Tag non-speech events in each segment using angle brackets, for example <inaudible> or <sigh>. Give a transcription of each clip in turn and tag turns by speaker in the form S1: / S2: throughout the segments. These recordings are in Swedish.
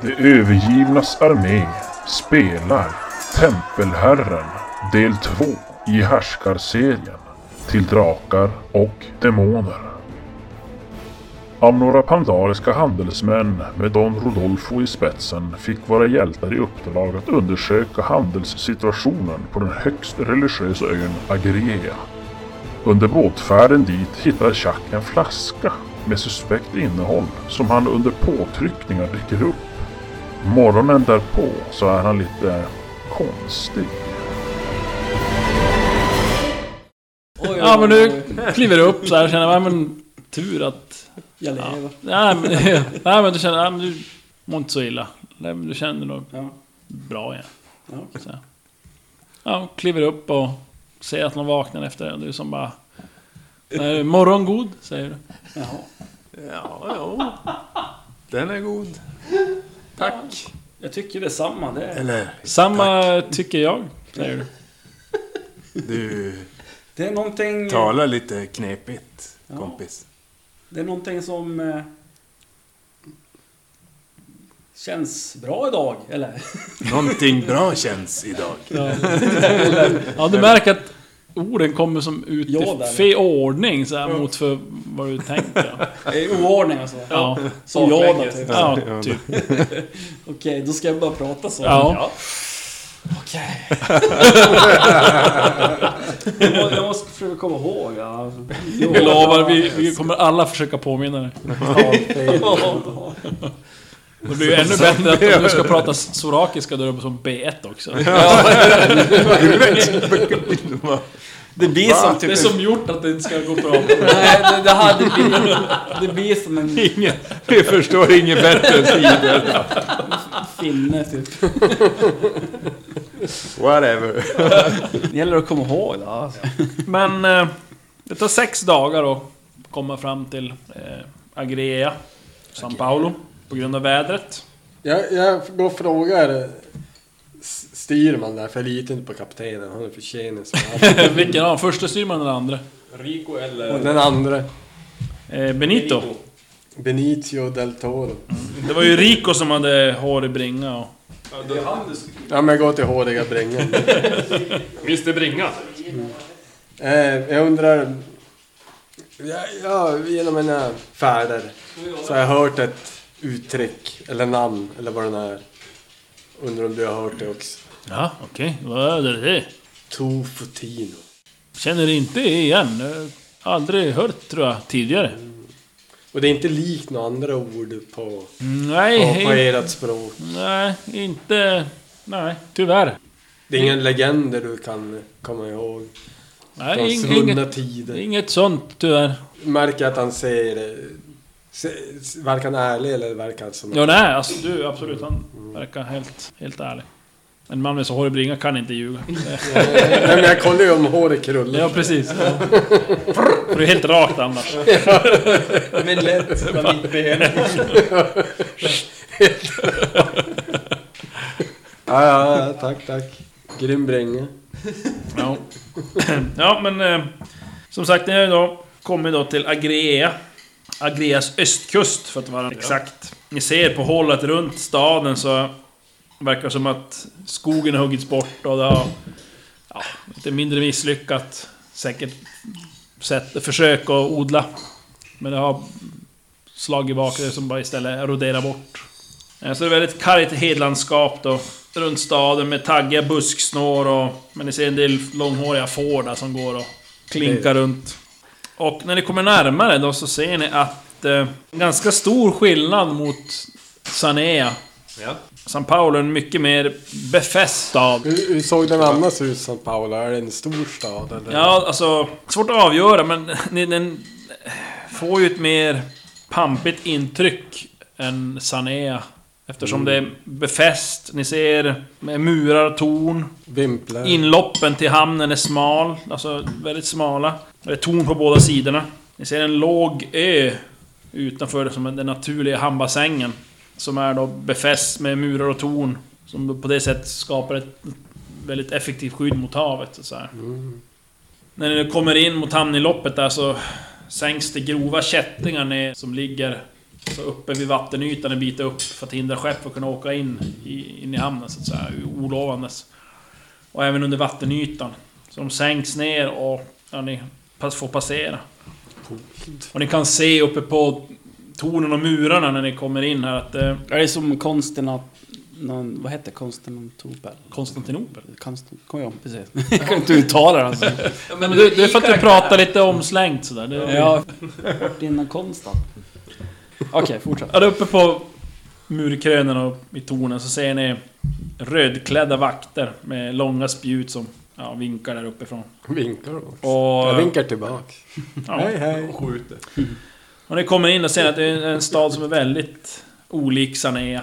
S1: Det övergivnas armé spelar Tempelherren del 2 i härskarserien till drakar och demoner. Av några pandariska handelsmän med Don Rodolfo i spetsen fick våra hjältar i uppdrag att undersöka handelssituationen på den högst religiösa ön Agria. Under båtfärden dit hittar Jack en flaska med suspekt innehåll som han under påtryckningar dricker upp. Morgonen därpå så är han lite konstig.
S2: Oj,
S3: Ja men
S2: oj,
S3: nu
S2: oj.
S3: kliver du upp så här och känner, ja men tur att...
S2: Jag lever.
S3: Nej men, <laughs> nej, men du känner, nej, men du mår inte så illa. Nej, men du känner nog
S2: Ja.
S3: bra igen.
S2: Ja, okej.
S3: Så. här. Ja, kliver upp och ser att någon vaknar efter det. Du som bara... Nej, morgon god, säger du.
S2: Jaha.
S4: Ja, jo. Den är god. Tack.
S2: Jag tycker detsamma. Det är,
S4: Eller,
S3: Samma tycker jag, säger du.
S4: du
S2: det är någonting...
S4: talar lite knepigt, kompis.
S2: Det är någonting som... Eh, känns bra idag, eller?
S4: Någonting bra känns <laughs> idag.
S3: Ja, du märker att orden kommer som ut
S2: Ja,
S3: i
S2: där.
S3: fel ordning så här, mot för vad du tänkte.
S2: I oordning alltså.
S3: Ja,
S2: Som jag då, typ.
S3: ja typ.
S2: Okej, då ska jag bara prata så.
S3: Ja. <laughs>
S2: Okej. jag, må- jag måste försöka komma ihåg. Ja.
S3: Vi lovar, vi, vi kommer alla försöka påminna dig. Det blir ju ännu bättre att om du ska prata sorakiska då är det som B1 också.
S2: Det blir som
S3: Det är
S2: typ...
S3: som gjort att det inte ska gå bra.
S2: Nej, det, det, här, det, blir, det blir som en
S4: Vi förstår inget bättre tider.
S2: finne typ.
S4: Whatever.
S2: Det gäller att komma ihåg det. Alltså.
S3: Men eh, det tar sex dagar att komma fram till eh, Agrea, San Paolo, på grund av vädret. <laughs>
S5: Jag, jag går och frågar s- styrman där, för jag litar inte på kaptenen. Han är för tjenis.
S3: <laughs> Vilken av Första styrman eller andra?
S6: Rico
S5: Och
S6: eller...
S5: den andra,
S3: Eh, Benito.
S5: Benicio del Toro.
S3: Det var ju Rico som hade hår i bringa och...
S6: Ja, det är han du-
S5: Ja, men jag går till håriga
S3: <laughs>
S5: brängen.
S6: Mr Bringa.
S5: Eh, jag undrar... Ja, ja, genom mina färder så har jag hört ett uttryck, eller namn, eller vad det är. Undrar om du har hört det också?
S3: Ja, okej. Vad är det?
S5: Tofutino.
S3: Känner inte igen. Eh, Aldrig hört tror jag tidigare. Mm,
S5: Och det är inte likt några andra ord på,
S3: Nej,
S5: på, på
S3: hej.
S5: ert språk.
S3: Nej, inte... Nej, tyvärr.
S5: Det är ingen legender du kan komma ihåg. Från
S3: Nej, ing-
S5: svunna
S3: inget,
S5: tider.
S3: inget sånt tyvärr.
S5: Märker att han ser... eh, se- s- Verkar han ärlig eller verkar han som...
S3: Ja, nej, alltså du absolut. Han verkar helt, helt ärlig. En man med så hårig bringa kan inte ljuga.
S5: Nej men jag kollar ju om håret krullar.
S3: Ja, precis. Ja. <laughs> För det är helt rakt annars.
S6: <laughs> Men
S3: <laughs>
S6: lätt. Men inte ben.
S5: Ja, ja, ja, tack, tack. Grym bränga.
S3: Ja, <clears throat> ja men eh, som sagt, ni har ju då kommit då till Agrea. Agreas östkust för att vara exakt. Ni ser på hållet runt staden så verkar det som att skogen har huggits bort och det har ja, lite mindre misslyckat säkert sätt, försök att odla. Men det har slagit bak det som bara istället roderar bort. Eh, Så det är väldigt kargt hedlandskap då. Runt staden med taggiga busksnår och... Men ni ser en del långhåriga får där som går och klinkar runt. Och när ni kommer närmare då så ser ni att... Eh, ganska stor skillnad mot Sanea.
S6: Ja.
S3: San Paulo är en mycket mer befäst stad.
S5: Hur, hur såg den annars ut, São Paulo? Är det en stor stad eller?
S3: Ja, alltså... Svårt att avgöra, men <laughs> ni- den får ju ett mer pampigt intryck än Sanea. Eftersom det är befäst, ni ser med murar och torn.
S5: Vimplar?
S3: Inloppen till hamnen är smal, alltså väldigt smala. Det är torn på båda sidorna. Ni ser en låg ö utanför det som är den naturliga hamnbassängen. Som är då befäst med murar och torn. Som då på det sättet skapar ett väldigt effektivt skydd mot havet. och Så här. När ni kommer in mot hamninloppet där så sänks det grova kättingar ner som ligger Så uppe vid vattenytan en bit upp för att hindra skepp att kunna åka in i, in i hamnen så att säga, olovandes. Och även under vattenytan. Så de sänks ner och ja, ni pass- får passera. Och ni kan se uppe på tornen och murarna när ni kommer in här att eh,
S2: Ja, det är som konsten att... Någon, vad heter konsten om Tobel?
S3: Konstantinopel.
S2: Konsten, kom jag ihåg precis. <laughs> Jag kan inte uttala det <laughs> alltså.
S3: Men du, det är för att du pratar lite omslängt sådär. Det,
S2: Ja, vart är innan konsten? Okej, fortsätt.
S3: Ja, där uppe på murkrönen och i tornen så ser ni rödklädda vakter med långa spjut som ja, vinkar där uppifrån.
S5: Vinkar också.
S3: Och,
S5: Jag vinkar tillbaka.
S3: ja,
S5: Hej hej.
S3: och ni kommer in och ser att det är en stad som är väldigt olik Sanea.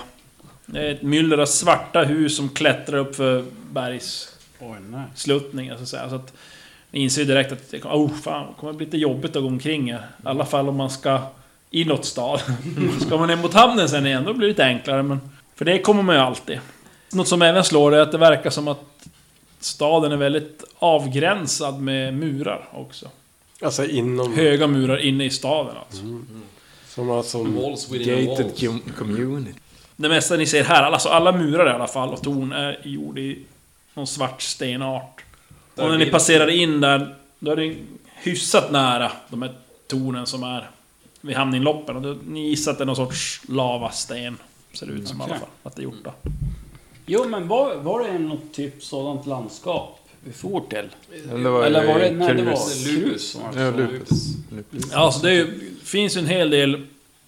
S3: Det är ett myller av svarta hus som klättrar upp för bergssluttningar
S2: Oj, nej.
S3: så att säga. Så att ni inser ju direkt att det kommer, oh, fan, det kommer bli lite jobbigt att gå omkring här. I alla fall om man ska inåt stad. <laughs> ska man ner mot hamnen sen igen, då blir det lite enklare. Men för det kommer man ju alltid. Något som även slår är att det verkar som att staden är väldigt avgränsad med murar också.
S5: Alltså inom...
S3: Höga murar inne i staden alltså.
S5: Som har som...
S3: Mm.
S6: Walls within
S4: Gated
S6: walls.
S4: com- community.
S3: Det mesta ni ser här, alltså alla murar i alla fall och torn är gjord i någon svart stenart. Och när ni passerar in där, då är det hyfsat nära de här tornen som är vid hamninloppen. Och då, ni gissar att det är någon sorts lavasten. Ser det ut som i alla
S2: Okej.
S3: fall. Att det är gjort då.
S2: Jo, men var, var det något typ sådant landskap vi for till?
S4: Men det var
S2: Eller
S4: ju
S2: var det... Nej, det
S4: Krus.
S2: var Krus. var det
S4: Ja,
S2: så.
S4: Lupus.
S3: Ja, alltså det är, ju- finns ju en hel del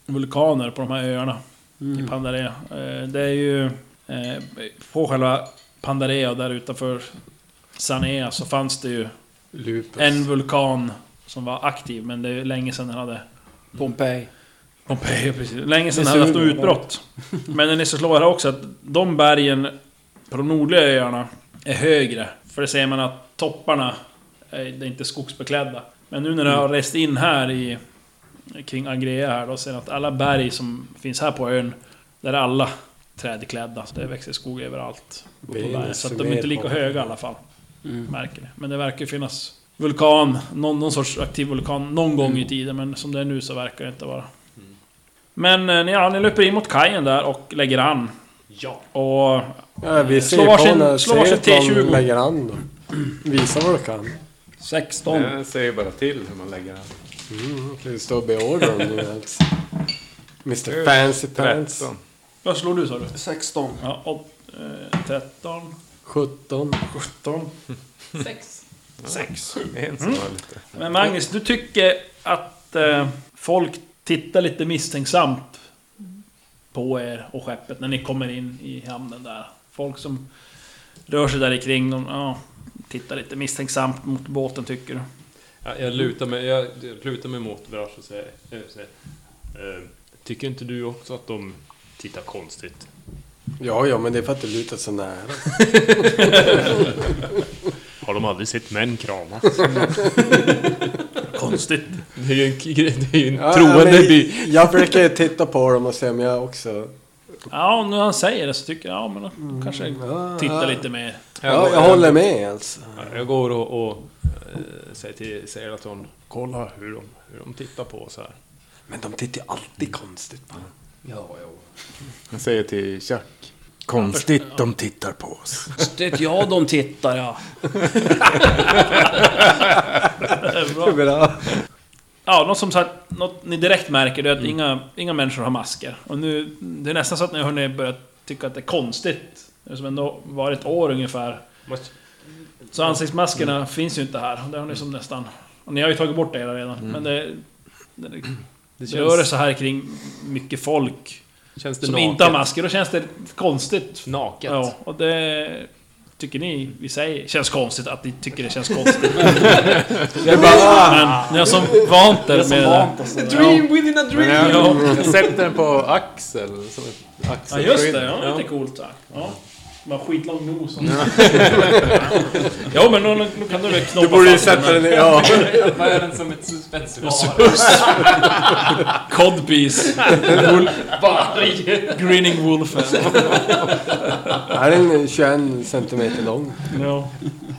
S3: vulkaner på de här öarna
S2: Mm.
S3: i Pandarea. Eh, Det är ju... eh, På själva Pandarea och där utanför Sanea så fanns det ju
S5: Lupus.
S3: en vulkan som var aktiv, men det är länge sedan den hade...
S2: Pompeji.
S3: Pompeji, precis. Länge sedan den hade haft något utbrott. Men den är så slår här också att de bergen på de nordliga öarna är högre. För det ser man att topparna, eh, det är inte skogsbeklädda. Men nu när det
S5: Mm.
S3: har rest in här i... Kring Agrea här då, ser man att alla berg som finns här på ön, där är alla trädklädda. Så det växer skog överallt. på
S5: Det är
S3: bergen.
S5: en
S3: Så att de är inte lika
S5: sumerbar.
S3: höga i alla fall.
S5: Mm.
S3: Märker det. Men det verkar ju finnas vulkan, någon, någon sorts aktiv vulkan någon gång
S5: Mm.
S3: i tiden. Men som det är nu så verkar det inte vara. Men eh, ni- ja, ni löper in mot kajen där och lägger an. Ja. Och
S5: Ja, vi
S3: Slå
S5: ser
S3: varsin-
S5: på när
S3: slå varsin
S5: ser att
S3: T20.
S5: de lägger an då. Visa vad du kan.
S2: 16.
S4: Jag säger bara till hur man lägger den.
S5: Mm, kan ju stå och beordra om du vill. Mr Fancy Pants.
S4: 13.
S3: vad slår du sa du?
S2: 16.
S3: Ja, och, eh, 13,
S5: 17.
S3: 17,
S2: 6.
S3: 6.
S4: En som var lite...
S3: Men Magnus, du tycker att eh, folk tittar lite misstänksamt på er och skeppet när ni kommer in i hamnen där. Folk som rör sig där i kring, de ja, tittar lite misstänksamt mot båten tycker du.
S6: Ja, jag lutar mig, jag, jag lutar mig mot Vrash och säger... eh, säger, eh, Tycker inte du också att de tittar konstigt?
S5: Ja, ja, men det är för att du lutar så <laughs> nära.
S6: Har de aldrig sett män <laughs> kramas?
S3: Konstigt.
S6: Det är ju en, det är ju en
S5: Ja,
S6: troende
S5: men
S6: by.
S5: Jag försöker ju titta på dem och se om jag också...
S3: Ja, och när han säger det så tycker jag, ja men då kanske
S5: ja,
S3: titta
S5: ja.
S3: lite mer.
S5: Ja, jag håller med alltså.
S6: Jag går och, och eh, säger till säger att hon kolla hur de, hur de tittar på oss här.
S5: Men de tittar ju alltid konstigt på
S2: Ja, ja.
S4: Jag säger till Chuck. Konstigt de tittar på oss.
S2: Det ja, de
S7: <laughs>
S2: tittar ja.
S3: Bra.
S5: Bra. <laughs>
S3: Ja, något som sagt, något ni direkt märker det är att
S6: Mm.
S3: inga, inga människor har masker. Och nu, det är nästan så att ni har hunnit börja tycka att det är konstigt. Det har som ändå varit ett år ungefär.
S6: Måste-
S3: Så ansiktsmaskerna finns ju inte här. Det har ni som nästan... Och ni har ju tagit bort det era
S6: Mm.
S3: redan. Men det... Det, det, rör sig här kring mycket folk
S6: Känns det
S3: som
S6: naket?
S3: inte har masker. Då känns det konstigt
S6: Naket?
S3: Ja, och det tycker ni vi säger känns konstigt att ni tycker det känns
S5: <laughs>
S3: konstigt.
S5: Jag bara...
S3: Men ni har som vant er med det där.
S6: Dream within a dream!
S4: Jag,
S3: Ja.
S4: jag sätter den på axel. Som ett
S3: Ja
S4: axel.
S3: just det, ja, lite coolt. Ja. Ja.
S2: Man har skitlång nos.
S3: <laughs> Jo men nu, nu- nu kan du väl knoppa
S5: Du borde ju
S3: fast den
S5: sätta
S3: här.
S5: den i... Ja.
S7: Vad är den som ett suspensvar?
S3: <laughs>
S5: <laughs>
S3: Codpiece.
S7: Varje...
S3: Grinning Wolfen.
S5: Här är den 21 centimeter lång.
S3: Ja.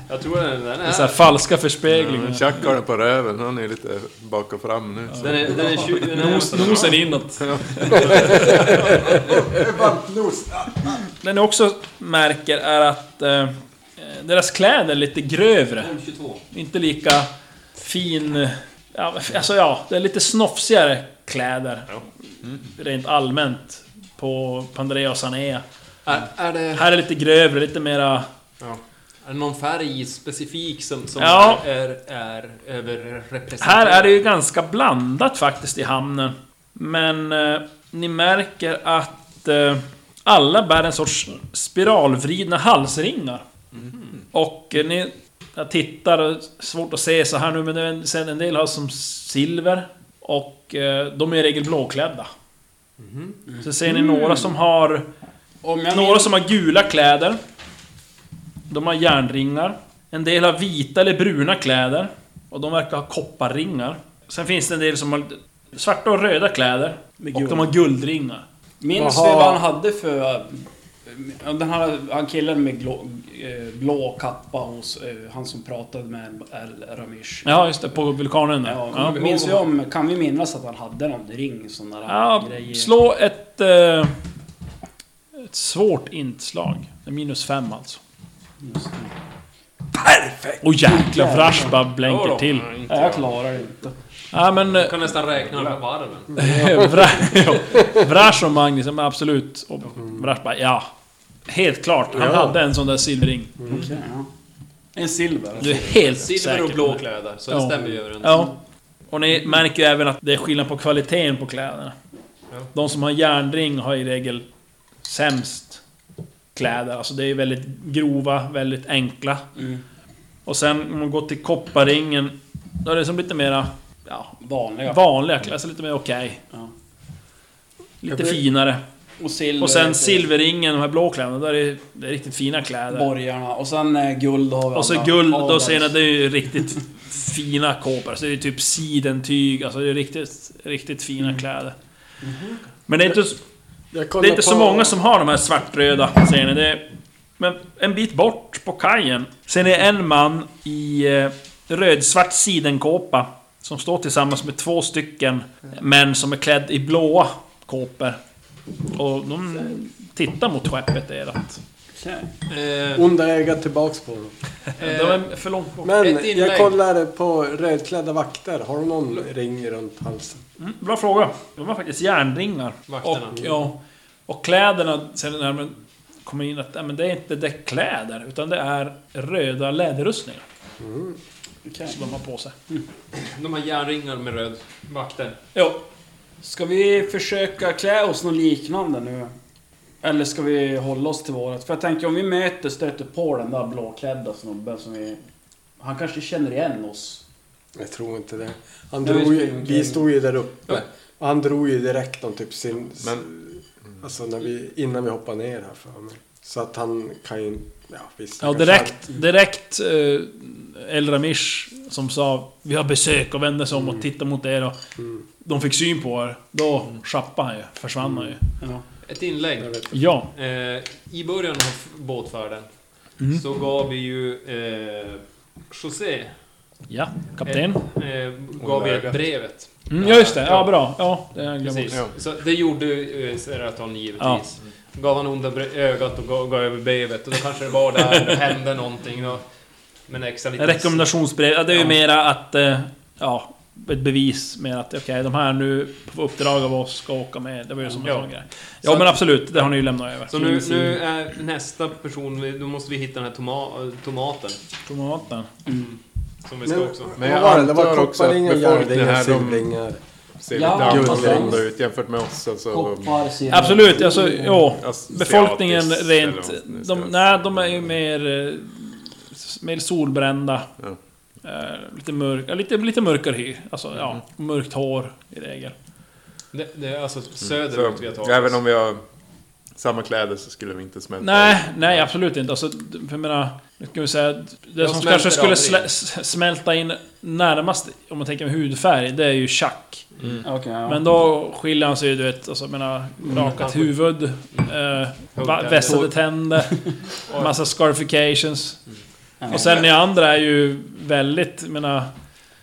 S7: Jag tror den, den
S6: Liksom-
S3: Så här
S7: är...
S3: falska förspeglingar.
S4: Chuck har den på röven, han är lite bak och fram nu.
S7: Den är, den är 20... Den är
S3: Nos, nosen inåt. Det ni också märker är att eh, deras kläder är lite grövre.
S7: M22.
S3: Inte lika fin... Ja, alltså ja, det är lite snofsigare kläder. Rent allmänt. På Pandrea och Sanea.
S7: Är, är, det,
S3: Här är lite grövre, lite mera...
S7: är det någon färg specifik som, som
S3: Ja.
S7: är, är överrepresenterad?
S3: Här är det ju ganska blandat faktiskt i hamnen. Men eh, ni märker att eh, alla bär en sorts spiralvridna halsringar. Och eh, ni jag tittar, och svårt att se så här nu, men det är en- sen en del har som silver. Och eh, de är i regel blåklädda. Så ser ni några som har
S2: Om jag
S3: några
S2: minns-
S3: som har gula kläder. De har järnringar. En del har vita eller bruna kläder. Och de verkar ha kopparringar. Sen finns det en del som har svarta och röda kläder.
S2: Med
S3: Och
S2: guld.
S3: de har guldringar.
S2: Minns vi
S5: Jaha.
S2: vad han hade för... eh, ja, Den här, han killen med glå, eh, blå kappa hos... eh, Han som pratade med El Ramish.
S3: Ja, just det. På vulkanen där.
S2: Ja,
S3: Ja,
S2: Minns vi om... Kan vi minnas att han hade någon ring? Sån där
S3: ja,
S2: grejer.
S3: slå ett... Eh, ett svårt inslag. Det är Minus fem alltså.
S2: Just det.
S3: Och jäklar, för Rash bara blänker till.
S2: Nej, jag klarar det inte.
S3: Ja, men... eh,
S7: Jag kan nästan räkna alla
S6: Mm.
S7: varven.
S3: Vra- ja. Vrash och Magnus, ja, men absolut. Och Vrash bara, ja. Helt klart, han hade en sån där silverring.
S2: Okej, ja. En silver.
S3: Du är helt
S7: Silver
S3: säker.
S7: och blå kläder, så det
S3: Ja.
S7: stämmer ju överens.
S3: Ja. Och ni märker ju även att det är skillnad på kvaliteten på kläderna. De som har järnring har i regel sämst kläder. Alltså det är väldigt grova, väldigt enkla.
S2: Mm.
S3: Och sen om man går till kopparringen, då är det som lite mera... Ja,
S2: Vanliga.
S3: vanliga kläder, alltså lite mer okej.
S2: Ja.
S3: Lite finare.
S2: Och silver.
S3: Och sen
S2: heter-
S3: silverringen, de här blå kläderna, där är det- det är riktigt fina kläder.
S2: Borgarna. Och sen eh, guld har vi
S3: Och så
S2: alla.
S3: guld, då
S2: Adels.
S3: ser ni att det är ju riktigt fina kåpor. Så det är typ sidentyg, alltså det är riktigt, riktigt fina kläder. Men det är inte,
S5: Jag
S3: det
S5: kollar
S3: är inte så
S5: på-
S3: många som har de här svartröda, ser ni. Det är, men en bit bort på kajen ser ni en man i eh, rödsvart sidenkåpa. Som står tillsammans med två stycken män som är klädda i blåa kåpor. Och de tittar mot skeppet erat.
S2: Okej.
S7: Eh,
S5: Onda ögat tillbaks på dem.
S3: De är för långt bort.
S5: Men
S7: Ett inlägg.
S5: jag kollar på rödklädda vakter. Har de någon ring runt halsen?
S3: Mm, bra fråga. De har faktiskt järnringar.
S7: Vakterna.
S3: Och, ja, och kläderna, sen när man kommer in att ja, men det är inte det kläder, utan det är röda läderrustningar
S2: Okej.
S3: som de har på sig.
S7: de har järnringar med röd vakter.
S3: Jo,
S2: Ska vi försöka klä oss något liknande nu? Eller ska vi hålla oss till vårat? För jag tänker om vi möter, stöter på den där blåklädda snubben som vi... Han kanske känner igen oss.
S5: Jag tror inte det. Han
S2: Nej,
S5: drog
S2: vi
S5: ju,
S2: spelar
S5: vi
S2: inte.
S5: stod ju där uppe. Och han drog ju direkt om typ sin... Alltså när vi, innan vi hoppade ner här för mig. Så att han kan ju... Ja, visst.
S3: ja, direkt, direkt eh, El Ramish som sa vi har besök och vände sig om och tittade mot er och de fick syn på er. Då schappade han ju, försvann han ju.
S2: Ja.
S7: Ett inlägg.
S3: Ja,
S7: Eh, I början av f- båtfärden så gav vi ju eh, José,
S3: ja, kapten.
S7: eh, gav vi ett brevet.
S3: Mm, ja, just det. Ja, bra. Ja, det har jag glömt.
S7: Precis. Så det gjorde eh, Seraton givetvis. Gav han onda bre- ögat och gav, gav över brevet och då kanske det var där det hände någonting. Då. Men extra lite...
S3: En rekommendationsbrev, ja, det är ju
S7: Ja.
S3: mera att... eh, Ja, ett bevis med att okej, de här nu på uppdrag av oss ska åka med. Det var ju som en
S7: Ja.
S3: sån grej. Ja, men absolut. Det har ni ju lämnat över.
S7: Så nu, nu är nästa person, vi- då måste vi hitta den här toma, tomaten.
S3: Tomaten.
S7: Som vi ska
S5: Men-
S7: också...
S4: Men
S5: Vad
S4: jag
S5: var det? Det
S4: antar
S5: var
S4: också att
S5: kopparringar,
S4: befolkningen
S5: järnringar,
S4: här, de-
S5: silverringar.
S4: ser
S2: Ja,
S4: lite
S5: guldring.
S4: annorlunda ut jämfört med oss. Alltså,
S2: Koppar, silver.
S3: Absolut, alltså ja.
S4: Asiatiskt
S3: Befolkningen
S4: eller
S3: rent...
S4: något, nu ska
S3: De,
S4: jag-
S3: nej, de är ju mer... eh, s- Mer solbrända.
S4: Ja.
S3: Eh, Lite, mörk, ja, lite, lite mörkare hy. Alltså, ja. Mörkt hår i regel.
S7: Det, det är alltså söderut vi har
S4: så,
S7: tagit
S4: även
S7: oss.
S4: om vi har samma kläder så skulle de inte smälta.
S3: Nej, nej absolut inte. Alltså, jag menar, nu ska vi säga, det som
S7: smälter
S3: kanske skulle
S7: aldrig.
S3: slä- s- smälta in närmast, om man tänker med hudfärg, det är ju tjack.
S2: Okej, ja.
S3: Men då skiljer han sig ju, du vet, alltså, jag menar,
S7: Mm.
S3: rakat huvud, eh, va- vässade tänder,
S7: <laughs>
S3: massa scarifications.
S7: Mm.
S2: Ja.
S3: Och sen ni andra är ju väldigt, jag menar,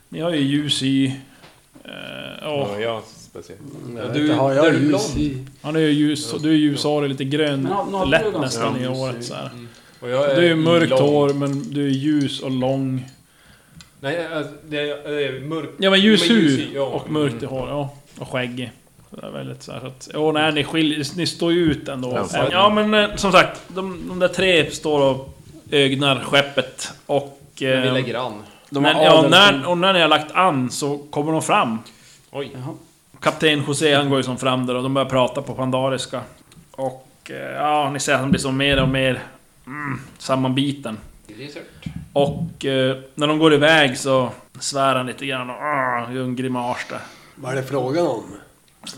S3: ni har ju ljus i... Eh, och,
S4: Ja, jag speciellt.
S5: Jag vet
S7: du-
S5: inte, har
S7: där
S5: jag
S7: du
S5: ljus
S7: blond?
S5: i?
S3: han är ju ljus, du är ljushårig, lite grön,
S2: Men har- har du
S3: lätt
S2: ganska
S3: nästan i
S2: ljus i- Mm.
S3: håret så här.
S7: Och jag
S3: Du är ju mörkt
S7: lång.
S3: hår, men du är ljus och lång.
S7: Nej, alltså, det är, det är mörkt.
S3: Ja men ljus
S7: Men ljus i,
S3: hud
S7: ja.
S3: och mörkt i hår, ja. Och skägg. Så där väldigt så här, så att, jo, nej, ni, skiljer, ni står ju ut ändå. Ja, men eh, som sagt, de, de där tre står och ögnar skeppet. Och...
S7: Men vi
S3: eh,
S7: lägger an.
S5: De har
S3: men, ja,
S5: adel-
S3: när, och när ni har lagt an så kommer de fram.
S7: Oj.
S2: Jaha.
S3: Kapten José han går ju som fram där och de börjar prata på pandariska. Och eh, ja, ni ser att han blir som mer och mer mm, sammanbiten. Och eh, när de går iväg så svär han lite grann och ah, gör en grimas där.
S5: Vad är det frågan om?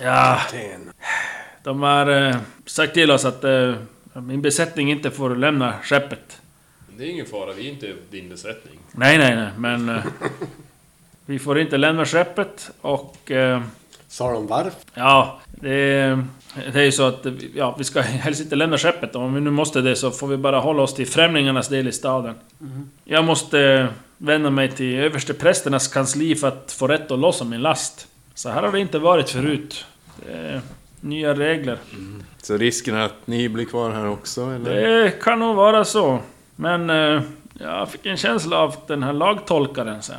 S3: Ja,
S5: Ten.
S3: de har eh, sagt till oss att eh, min besättning inte får lämna skeppet.
S6: Det är ingen fara, vi är inte din besättning.
S3: Nej, nej, nej, men... Eh, vi får inte lämna skeppet och... Eh,
S5: Sa de varför?
S3: Ja, det, det är ju så att ja, vi ska helst inte lämna skeppet. Om vi nu måste det så får vi bara hålla oss till främlingarnas del i staden. Jag måste vända mig till översteprästernas kansli för att få rätt att lossa min last. Så här har det inte varit förut. Det är nya regler.
S4: Så risken är att ni blir kvar här också eller?
S3: Det kan nog vara så. Men eh, jag fick en känsla av att den här lagtolkaren sen.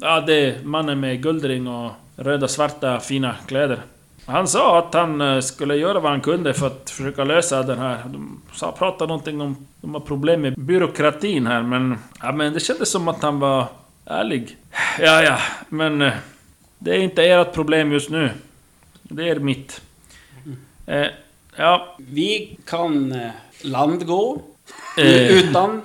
S3: Ja, det är mannen med guldring och röda, svarta, fina kläder. Han sa att han eh, skulle göra vad han kunde för att försöka lösa den här... De sa, pratade någonting om... De har problem med byråkratin här, men... Ja, men det kändes som att han var ärlig. Ja, ja, men... eh, Det är inte ert problem just nu. Det är mitt. Eh, ja...
S2: Vi kan eh, landgå.
S3: eh,
S2: Utan...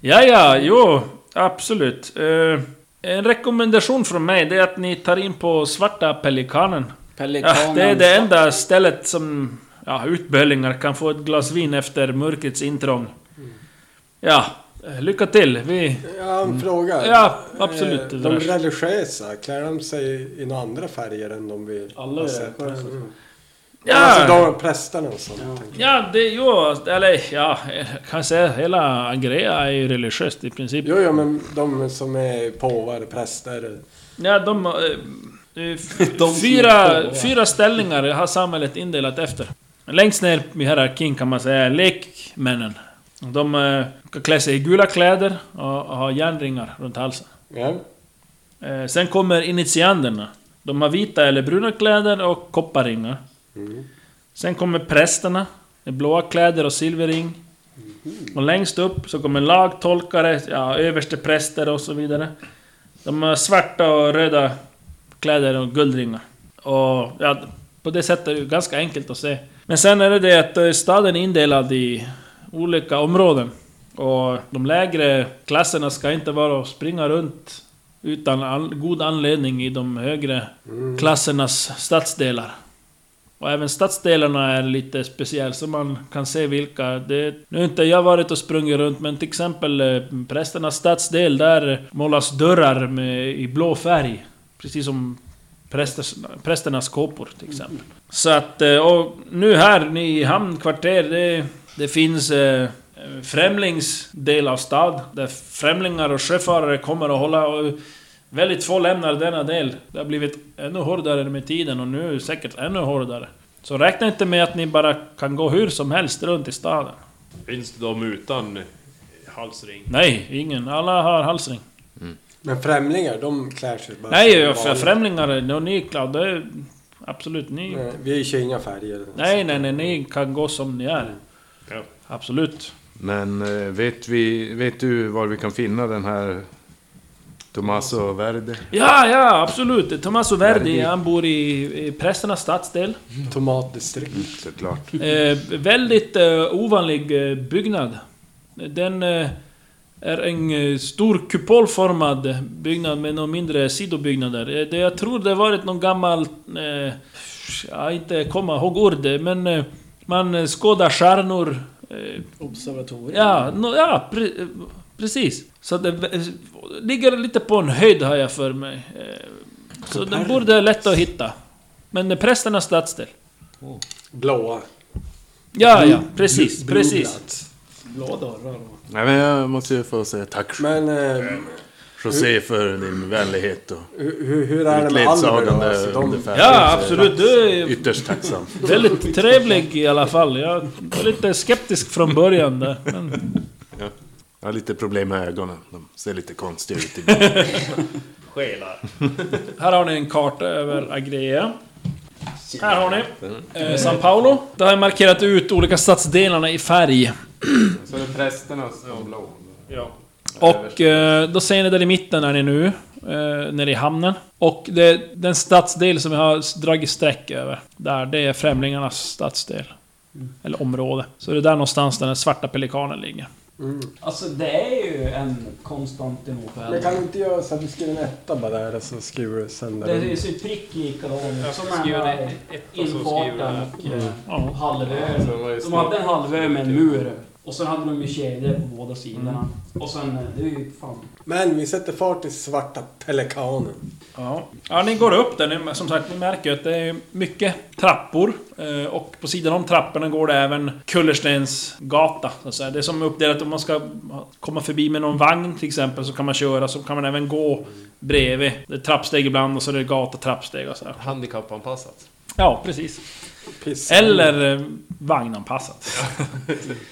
S3: Ja, ja, jo, absolut. Eh, en rekommendation från mig det är att ni tar in på Svarta Pelikanen.
S2: Pelikanen.
S3: Ja, det är det enda stället som ja, utbölingar kan få ett glas vin efter mörkrets intrång. Ja, eh, lycka till. Vi...
S5: Ja, en fråga.
S3: Mm. Ja, absolut.
S5: Eh,
S3: det
S5: De
S3: där.
S5: religiösa, klär de sig i några andra färger än de vi
S2: Alla är
S5: har sett?
S2: religiösa.
S5: Mm.
S3: Ja.
S5: Alltså de prästerna och sånt.
S2: Ja.
S5: tänker jag.
S3: Ja, det... Jo, eller ja, jag kan säga hela Agrea är ju religiöst i princip.
S5: Jo, jo, men de som är påvar, präster.
S3: Ja, de... eh, eh, fyra, fyra ställningar har samhället indelat efter. Längst ner i hierarkin kan man säga är lekmännen. De eh, ska klä sig i gula kläder och, och ha järnringar runt halsen.
S5: Ja.
S3: Eh, Sen kommer initianderna. De har vita eller bruna kläder och kopparringar. Sen kommer prästerna. Med blåa kläder och silverring. Och längst upp så kommer lagtolkare, ja, överstepräster och så vidare. De har svarta och röda kläder och guldringar. Och ja, på det sättet är det ju ganska enkelt att se. Men sen är det det att eh, staden är indelad i olika områden. Och de lägre klasserna ska inte vara och springa runt utan all, god anledning i de högre klassernas stadsdelar. Och även stadsdelarna är lite speciell, så man kan se vilka... Det, nu har inte jag varit och sprungit runt, men till exempel eh, prästernas stadsdel, där målas dörrar med, i blå färg. Precis som prästers, prästernas kåpor till exempel. Så att, eh, och nu här i hamnkvarter, det, det finns eh, främlingsdel av stad. Där främlingar och sjöfarare kommer att hålla. Och väldigt få lämnar denna del. Det har blivit ännu hårdare med tiden och nu är det säkert ännu hårdare. Så räkna inte med att ni bara kan gå hur som helst runt i staden.
S6: Finns det de utan halsring?
S3: Nej, ingen. Alla har halsring.
S5: Men främlingar, de klär sig bara
S3: Nej,
S5: som
S3: jag-
S5: vanligt.
S3: främlingar och ni Cloud, det är... Absolut, ni...
S5: Nej, Vi kör inga färger.
S3: Nej, nej, nej, ni kan gå som ni är.
S6: Ja.
S3: Absolut.
S4: Men eh, vet, vi, vet du var vi kan finna den här Tommaso Verde?
S3: Ja, ja, absolut. Tommaso Verdi,
S4: Verdi.
S3: han bor i, i prästernas stadsdel.
S5: Tomatdistrikt.
S4: Såklart.
S3: Eh, väldigt eh, ovanlig eh, byggnad. Den eh, är en eh, stor kupolformad byggnad med några mindre sidobyggnader. Eh, det, jag tror det varit någon gammal... Eh, jag inte komma ihåg ordet, men... Eh, Man eh, skådar stjärnor. eh,
S2: Observatorium.
S3: Ja, nå- ja pre, eh, precis. Så det eh, ligger lite på en höjd har jag för mig. Eh, Så den borde lätt att hitta. Men eh, prästernas stadsdel.
S5: Blåa.
S3: Ja, ja, precis, precis.
S5: Blodlat.
S2: Blå dörrar. och-
S4: Nej, men jag måste ju få säga tack
S5: Men eh,
S4: José för din vänlighet och
S5: hur, hur- hur är det
S4: ditt
S5: med Almer då?
S4: ledsagande
S5: Alltså, de,
S4: ungefär.
S3: Ja, absolut. Du är
S4: Ytterst tacksam.
S3: väldigt trevlig i alla fall. Jag var lite skeptisk från början där. Men,
S4: Jag har lite problem med ögonen. De ser lite konstiga ut ibland.
S7: Själar.
S3: här har ni en karta över Agrea. Här har ni eh, San Paulo. Där har jag markerat ut olika stadsdelarna i färg.
S7: Så det är prästerna som blå. Ja.
S3: Och eh, då ser ni där i mitten är ni nu. Eh, nere i hamnen. Och det är den stadsdel som jag har dragit streck över. Där, det är Främlingarnas stadsdel. Eller område. Så det är där någonstans där den svarta pelikanen ligger.
S2: Alltså det är ju en Konstantinopel.
S5: men kan du inte göra så att du skriver en etta bara där och så skriver du sen där?
S2: Det ser ju prick likadan ut som den
S7: Skriver det
S2: här
S7: ett och så skriver
S2: infarten
S7: det.
S2: och eh,
S3: Ja.
S2: halvön. De hade en halvö med en
S7: Typ.
S2: mur. Och sen hade de ju kedjor på båda sidorna. Och sen, eh, det är ju fan...
S5: Men vi sätter fart i svarta pelikanen.
S3: Ja. ja, ni går upp där. Ni, som sagt, ni märker ju att det är mycket trappor. eh, Och på sidan om trapporna går det även kullerstensgata. så att säga. Det är som uppdelat om man ska komma förbi med någon vagn till exempel så kan man köra, så kan man även gå bredvid. Det är trappsteg ibland och så är det gata, trappsteg och så här.
S7: Handikappanpassat.
S3: Ja, precis.
S5: Piss.
S3: Eller eh, vagnanpassat.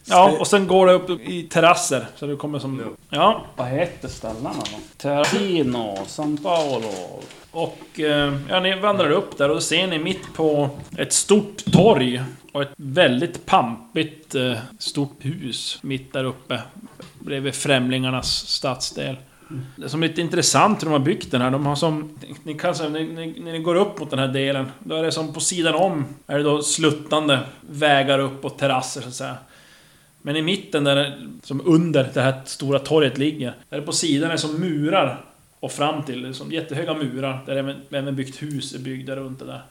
S3: ja, och sen går det upp i terrasser. Så det kommer som... Ja,
S2: Vad heter ställena då? Terracino, San Paolo.
S3: Och eh, ja, ni vandrar upp där och då ser ni mitt på ett stort torg och ett väldigt pampigt eh, stort hus mitt där uppe. Bredvid Främlingarnas stadsdel. Det som är lite intressant hur de har byggt den här, de har som... Ni kan, säga, ni, ni, när ni går upp mot den här delen, då är det som på sidan om är det då sluttande vägar upp och terrasser så att säga. Men i mitten där, som under det här stora torget ligger, där det på sidan är som murar och fram till liksom, jättehöga murar. Där är även, även byggt hus är byggda runt det där.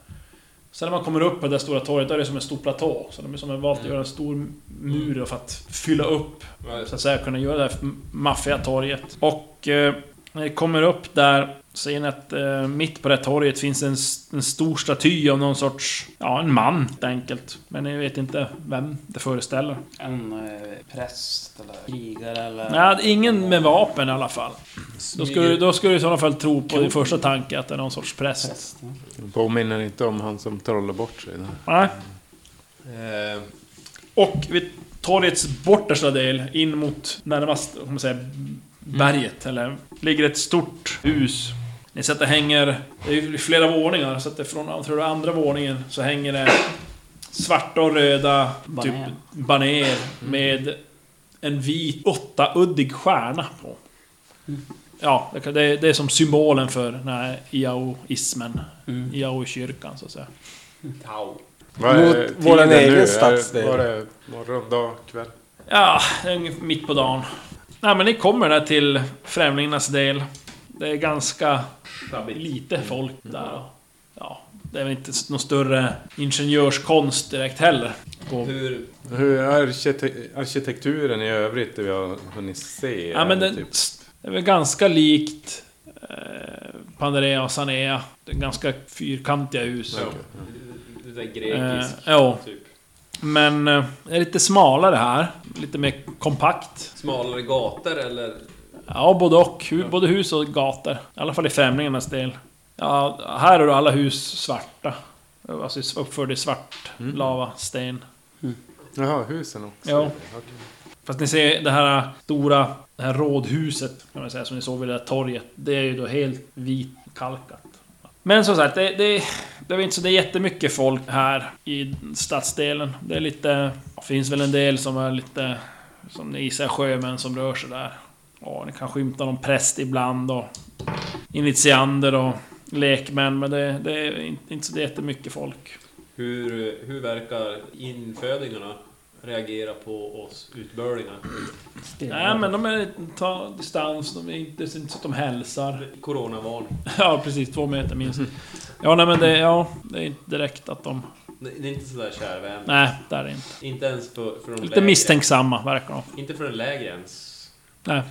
S3: Sen när man kommer upp på det där stora torget, då är det som en stor platå. Så de har som valt att göra en stor mur för att fylla upp, så att säga, kunna göra det här maffiga torget. Och eh, när ni kommer upp där ser ni att eh, mitt på det här torget finns en, s- en stor staty av någon sorts... Ja, en man helt enkelt. Men ni vet inte vem det föreställer.
S2: En eh, präst eller krigare eller...
S3: Nej, ingen med vapen i alla fall. Då skulle, då skulle du i sådana fall tro på din första tanke att det är någon sorts präst.
S2: Präst, ja.
S4: Påminner inte om han som trollar bort sig. där.
S3: Nej.
S7: Eh,
S3: Och vid torgets bortersta del, in mot närmast, om man säger, berget, eller... Ligger ett stort hus. Ni ser att det hänger... Det är ju flera våningar, så att det från jag tror det är andra våningen så hänger det svarta och röda typ
S2: Banér.
S3: banér med en vit åttauddig stjärna på. Ja, det kan- det är, det är som symbolen för den här iaoismen.
S2: Mm.
S3: Iao-kyrkan, så att säga.
S4: Vad
S5: Mot
S4: tiden
S5: våran
S4: nu?
S5: egen
S4: Är-
S5: stadsdel.
S4: Var det morgon, dag, kväll?
S3: Ja, det är ungefär mitt på dagen. Nej men ni kommer där till Främlingarnas del. Det är ganska lite folk där. och- Ja, det är väl inte någon större ingenjörskonst direkt heller. Och,
S7: hur...
S4: Hur är arkite- arkitekturen i övrigt, det vi har hunnit se?
S3: ja, men
S4: Typ.
S3: den, det är väl ganska likt eh, Pandarea och Sanea. Det är ganska fyrkantiga hus.
S7: Ja. Det där
S3: Eh,
S7: grekisk,
S3: ja,
S7: typ.
S3: men eh, det är lite smalare här. Lite mer kompakt.
S7: Smalare gator eller?
S3: Ja, både och. Hu- Både hus och gator. I alla fall i Främlingarnas del. Ja, här är då alla hus svarta. Alltså s- uppförda i svart lava, sten.
S4: Jaha, husen också.
S3: Ja. Fast ni ser det här stora det här rådhuset, kan man säga, som ni såg vid det där torget. Det är ju då helt vitkalkat. Men som sagt, det, det, det är väl inte så det är jättemycket folk här i stadsdelen. Det är lite... finns väl en del som är lite... Som ni gissar, sjömän som rör sig där. Ja, ni kan skymta någon präst ibland och... Initiander och lekmän, men det, det är inte- inte så det är jättemycket folk.
S7: Hur, hur verkar infödingarna reagera på oss utbörlingar?
S3: Nej, men de är, tar distans, de är inte, det är inte så att de hälsar. <laughs>
S7: Coronavarning.
S3: Ja, precis. Två meter minst. Ja, nej men det, ja, det är inte direkt att de...
S7: Nej, Det är inte sådär kära vän.
S3: Nej, det är det inte.
S7: Inte ens för, för de
S3: Lite
S7: lägre.
S3: misstänksamma verkar de.
S7: Inte för en lägre ens.
S3: Nej,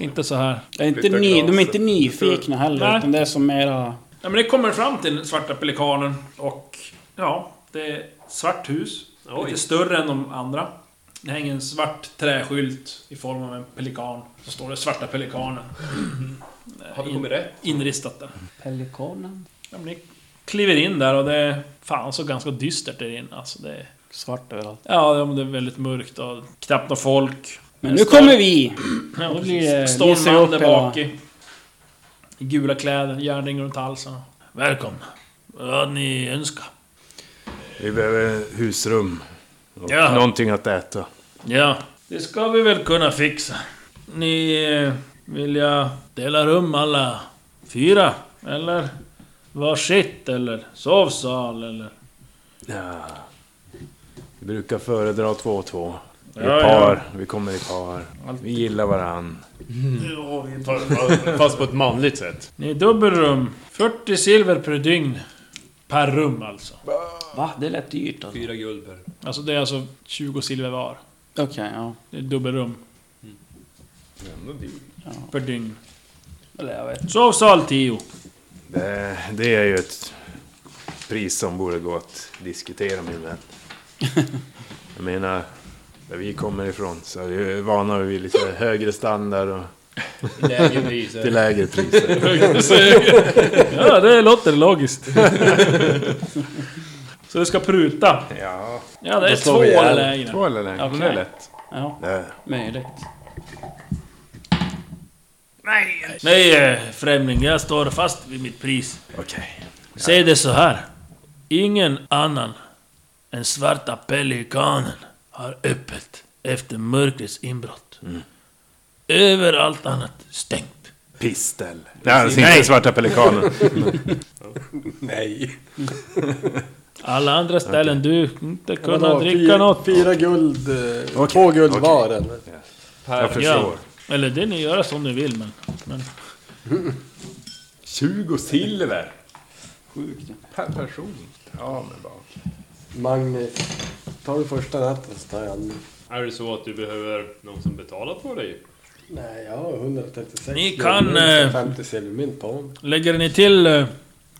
S3: inte så här.
S2: Är inte ni, de är inte nyfikna heller,
S3: Nej.
S2: utan det är som mera...
S3: Ja, men det kommer fram till den svarta pelikanen och ja, det är ett svart hus. Lite större än de andra. Det hänger en svart träskylt i form av en pelikan. Så står det svarta pelikanen.
S7: Har vi kommit rätt?
S3: Inristat där.
S2: Pelikanen?
S3: Ja, men ni kliver in där och det är fan så ganska dystert där inne. Alltså det är,
S2: Svart överallt.
S3: ja, ja, men det är väldigt mörkt och knappt några folk.
S2: Men nu kommer vi! Då blir det-
S3: Står
S2: lyser
S3: en man
S2: upp
S3: där
S2: hela-
S3: bak i, i gula kläder, järnring runt halsen. Välkomna. Vad ni önskar?
S4: Vi behöver husrum. Och
S3: Ja.
S4: Någonting att äta.
S3: Ja, det ska vi väl kunna fixa. Ni eh, vill jag dela rum alla fyra? Eller varsitt? Eller sovsal? Eller?
S4: Ja. Vi brukar föredra två och två. Vi är
S3: Ja,
S4: par, vi kommer i par. Vi gillar varann.
S6: Fast på ett manligt sätt.
S3: Ni är dubbelrum. 40 silver per dygn. Per rum alltså.
S2: Va? Det lät dyrt alltså.
S7: Fyra guld per.
S3: Alltså det är alltså 20 silver var.
S2: Okej, ja.
S3: Det är dubbelrum.
S4: Mm.
S3: Per dygn.
S2: Eller jag vet.
S3: Sovsal
S4: <laughs>
S3: 10.
S4: Det, Eh, det är ju ett pris som borde gå att diskutera min <laughs> vän. Jag menar, där vi kommer ifrån så är vi vana vid lite högre standard och
S7: Lägre priser.
S4: till lägre priser.
S3: Ja, det låter logiskt. <laughs> Så det ska pruta.
S4: <laughs> Ja,
S3: Ja, det är
S4: då slår
S3: två
S4: vi ihjäl.
S3: lägen.
S4: Två eller lägre, men det är
S2: Okej.
S4: lätt.
S2: Ja,
S4: Det är
S2: möjligt.
S3: Nej, eh, främling. Jag står fast vid mitt pris.
S4: Okej.
S3: Säg det så här. Ingen annan än svarta pelikanen har öppet efter mörkrets inbrott. Överallt annat stängt.
S4: Pistel. Nej, alltså inte svarta <laughs> pelikanen.
S5: Nej.
S3: Alla andra ställen du inte kunnat
S5: Vadå,
S3: dricka
S5: fy-
S3: något.
S5: Fyra guld... eh,
S4: Okej,
S5: Två guld
S4: okej.
S5: var eller?
S4: Jag
S3: Ja.
S4: förstår.
S3: Eller det ni gör som ni vill, men... men
S4: 20 silver
S2: Sjukt.
S4: per person. Ja, men bara.
S5: Magni, tar du första natten så tar jag andra.
S6: Är det så att du behöver någon som betalar för dig?
S5: Nej, jag har 136
S3: Ni
S5: guld,
S3: kan, eh,
S5: 50 silvermynt på mig.
S3: lägger ni till eh,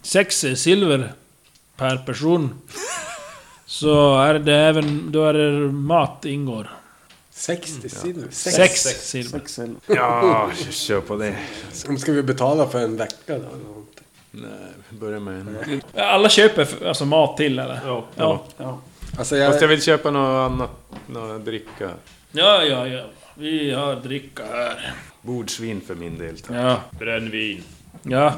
S3: sex silver per person så är det även... Då är det mat ingår.
S5: 60 silver? Sex.
S3: Sex silver.
S2: Sex eller?
S4: Ja, kör på det.
S5: Om Ska vi betala för en vecka då? eller någonting?
S4: Nej, börja med en.
S3: Alla köper f- alltså mat till eller?
S6: Ja.
S3: Ja,
S5: Alltså
S4: Fast jag
S5: jag...
S4: vill köpa något annat. Något dricka.
S3: ja, ja. ja. Vi har dricka här.
S4: Bordsvin för min del. tack.
S3: Ja,
S6: Brännvin.
S3: ja.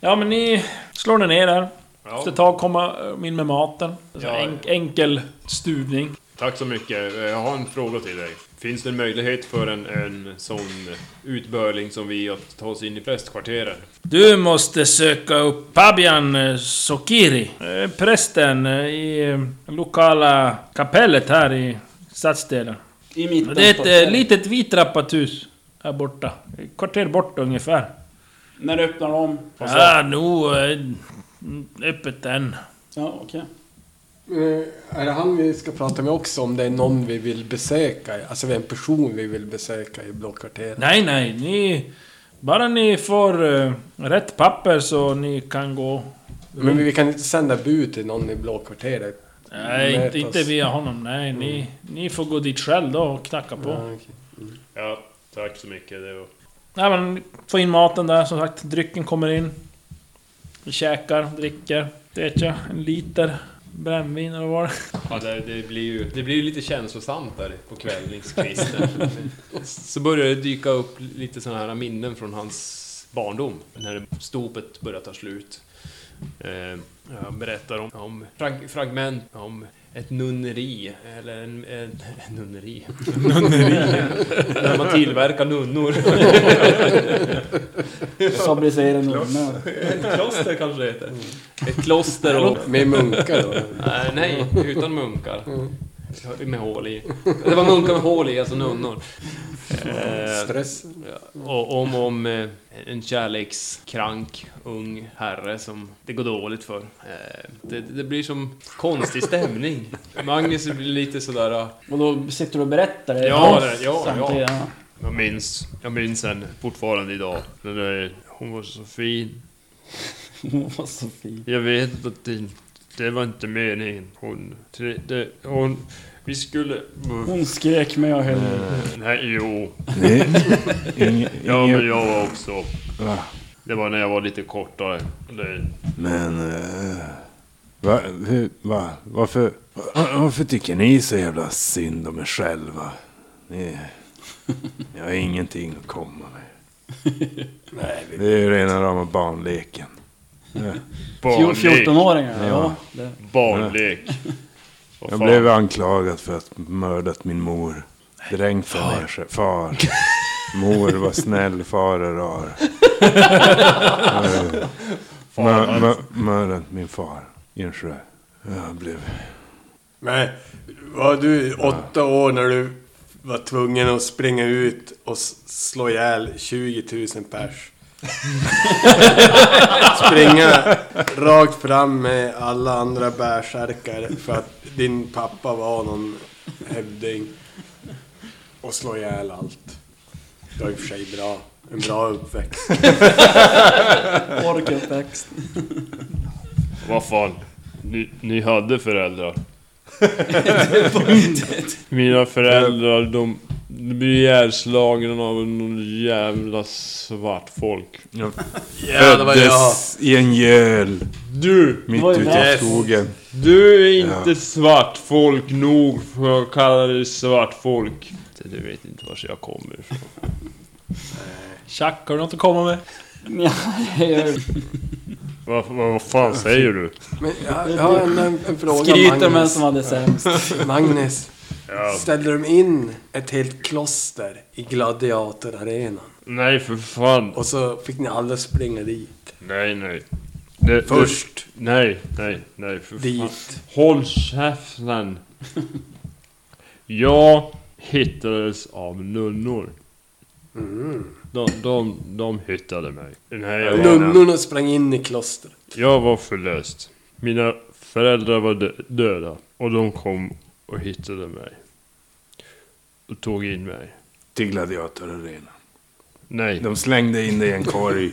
S3: Ja men ni slår ni ner där. Efter ett tag kommer de eh, in med maten. Alltså
S6: Ja,
S3: en, enkel stuvning.
S6: Tack så mycket. Eh, Jag har en fråga till dig. Finns det en möjlighet för en, en sån utbörling som vi att ta oss in i prästkvarteren?
S3: Du måste söka upp Pabian eh, Sokiri. eh, Prästen eh, i eh, lokala kapellet här i stadsdelen.
S2: I mitten.
S3: Det är
S2: på-
S3: ett eh, litet vitrappat hus här borta. Ett kvarter bort ungefär.
S2: När du öppnar om.
S3: Ja, nog eh, öppet än.
S2: Ja, okej.
S5: Eh, Är det han vi ska prata med också? Om det är någon vi vill besöka? Alltså vi är en person vi vill besöka i Blåkvarteret?
S3: Nej, nej, ni... Bara ni får eh, rätt papper så ni kan gå.
S5: Men vi kan inte sända bud till någon i Blåkvarteret?
S3: Nej, inte,
S5: Mötas.
S3: inte via honom. Nej, ni, ni får gå dit själv då och knacka på.
S5: Ja, okej.
S6: Ja, tack så mycket. Det var...
S3: Nej, men få in maten där, som sagt. Drycken kommer in. Vi käkar, dricker. Det vet jag, en liter brännvin eller vad det var. <laughs>
S7: Ja, det, det blir ju det blir ju lite känslosamt där på kvällningskvisten. <laughs> Så börjar det dyka upp lite sådana här minnen från hans barndom. När stopet börjar ta slut. Eh, Jag berättar om, om frag, fragment om ett nunneri. Eller en, en, <laughs> en nunneri. <laughs> nunneri. Där man tillverkar nunnor.
S2: Fabricera nummer.
S7: <laughs> Ett kloster kanske det heter. Ett kloster och...
S6: Eh,
S5: Med munkar då?
S7: Nej, nej, utan munkar.
S6: Med hål i. Det var munkar med hål i, alltså nunnor. Eh,
S5: Stress.
S6: och om om eh, en kärlekskrank ung herre som det går dåligt för. Eh, Det, det blir som konstig stämning. Magnus blir lite sådär... ah,
S2: Och då sitter du och berättar det?
S6: Ja, det- ja,
S2: Samtidigt, ja.
S6: Jag minns, jag minns henne fortfarande idag. Den där, hon var så fin.
S2: Hon var så fin.
S6: Jag vet att det, det var inte meningen. Hon... Det, det, hon vi skulle...
S2: Hon skrek med jag
S1: Mm.
S2: höll.
S6: Nej, jo.
S1: Nej. Inge,
S6: Ja, men
S1: inge,
S6: jag var också...
S1: Va?
S6: Det var när jag var lite kortare. Det,
S1: men... eh, va, hur, va, varför, va, varför tycker ni så jävla synd om er själva? Ni, ni har ingenting att komma med. Nej, det är ju rena rama barnleken.
S2: Fjor-
S6: barnlek.
S2: 14-åringar, ja. Det.
S6: Barnlek. Vad
S1: Jag
S6: fan.
S1: blev anklagad för att mördat min mor. Drängt far. Ner, far. Mor var snäll, far är rar. Eh, mör- mör- Mördat min far i en sjö. Jag blev...
S5: Men var du åtta år när du var tvungen att springa ut och s- slå ihjäl 20 000
S2: <laughs>
S5: pers? springa rakt fram med alla andra bärsärkar för att din pappa var någon hävding. Och slå ihjäl allt. Det var i och för sig bra. En bra
S1: <laughs>
S5: uppväxt.
S2: Orkuppväxt.
S6: Vad fan, ni, ni hade föräldrar. Mina föräldrar, de, de blir ihjälslagna av någon jävla svart folk.
S5: Ja, det var jag.
S1: Dess i en göl.
S6: Du!
S1: Mitt
S2: Oj,
S1: ute i
S2: nej.
S1: skogen.
S6: Du är inte
S1: Ja.
S6: svart folk nog för att kalla dig svart folk. Du vet inte var jag kommer ifrån.
S3: Tjack, har du något att komma med?
S2: Ja, det gör-
S6: Vad vad- vad fan säger du?
S5: Men jag, jag har en, en, en fråga
S2: Skryter med
S5: Magnus.
S2: som hade sämst.
S5: Magnus.
S6: Ja.
S5: Ställde de in ett helt kloster i gladiatorarenan?
S6: Nej för fan.
S5: Och så fick ni alla springa dit.
S6: Nej nej. Det,
S5: Först
S6: Det, nej, nej, nej för fan.
S5: dit.
S6: Håll käften! Jag hittades av nunnor. De, de, de hittade mig. Mm. Nej, jag, var,
S5: Nunnorna sprang in i klostret.
S6: jag var förlöst. Mina föräldrar var dö- döda. Och de kom och hittade mig. Och tog in mig.
S1: Till gladiatorarenan.
S6: Nej,
S4: Typ.
S1: De slängde in dig i en korg.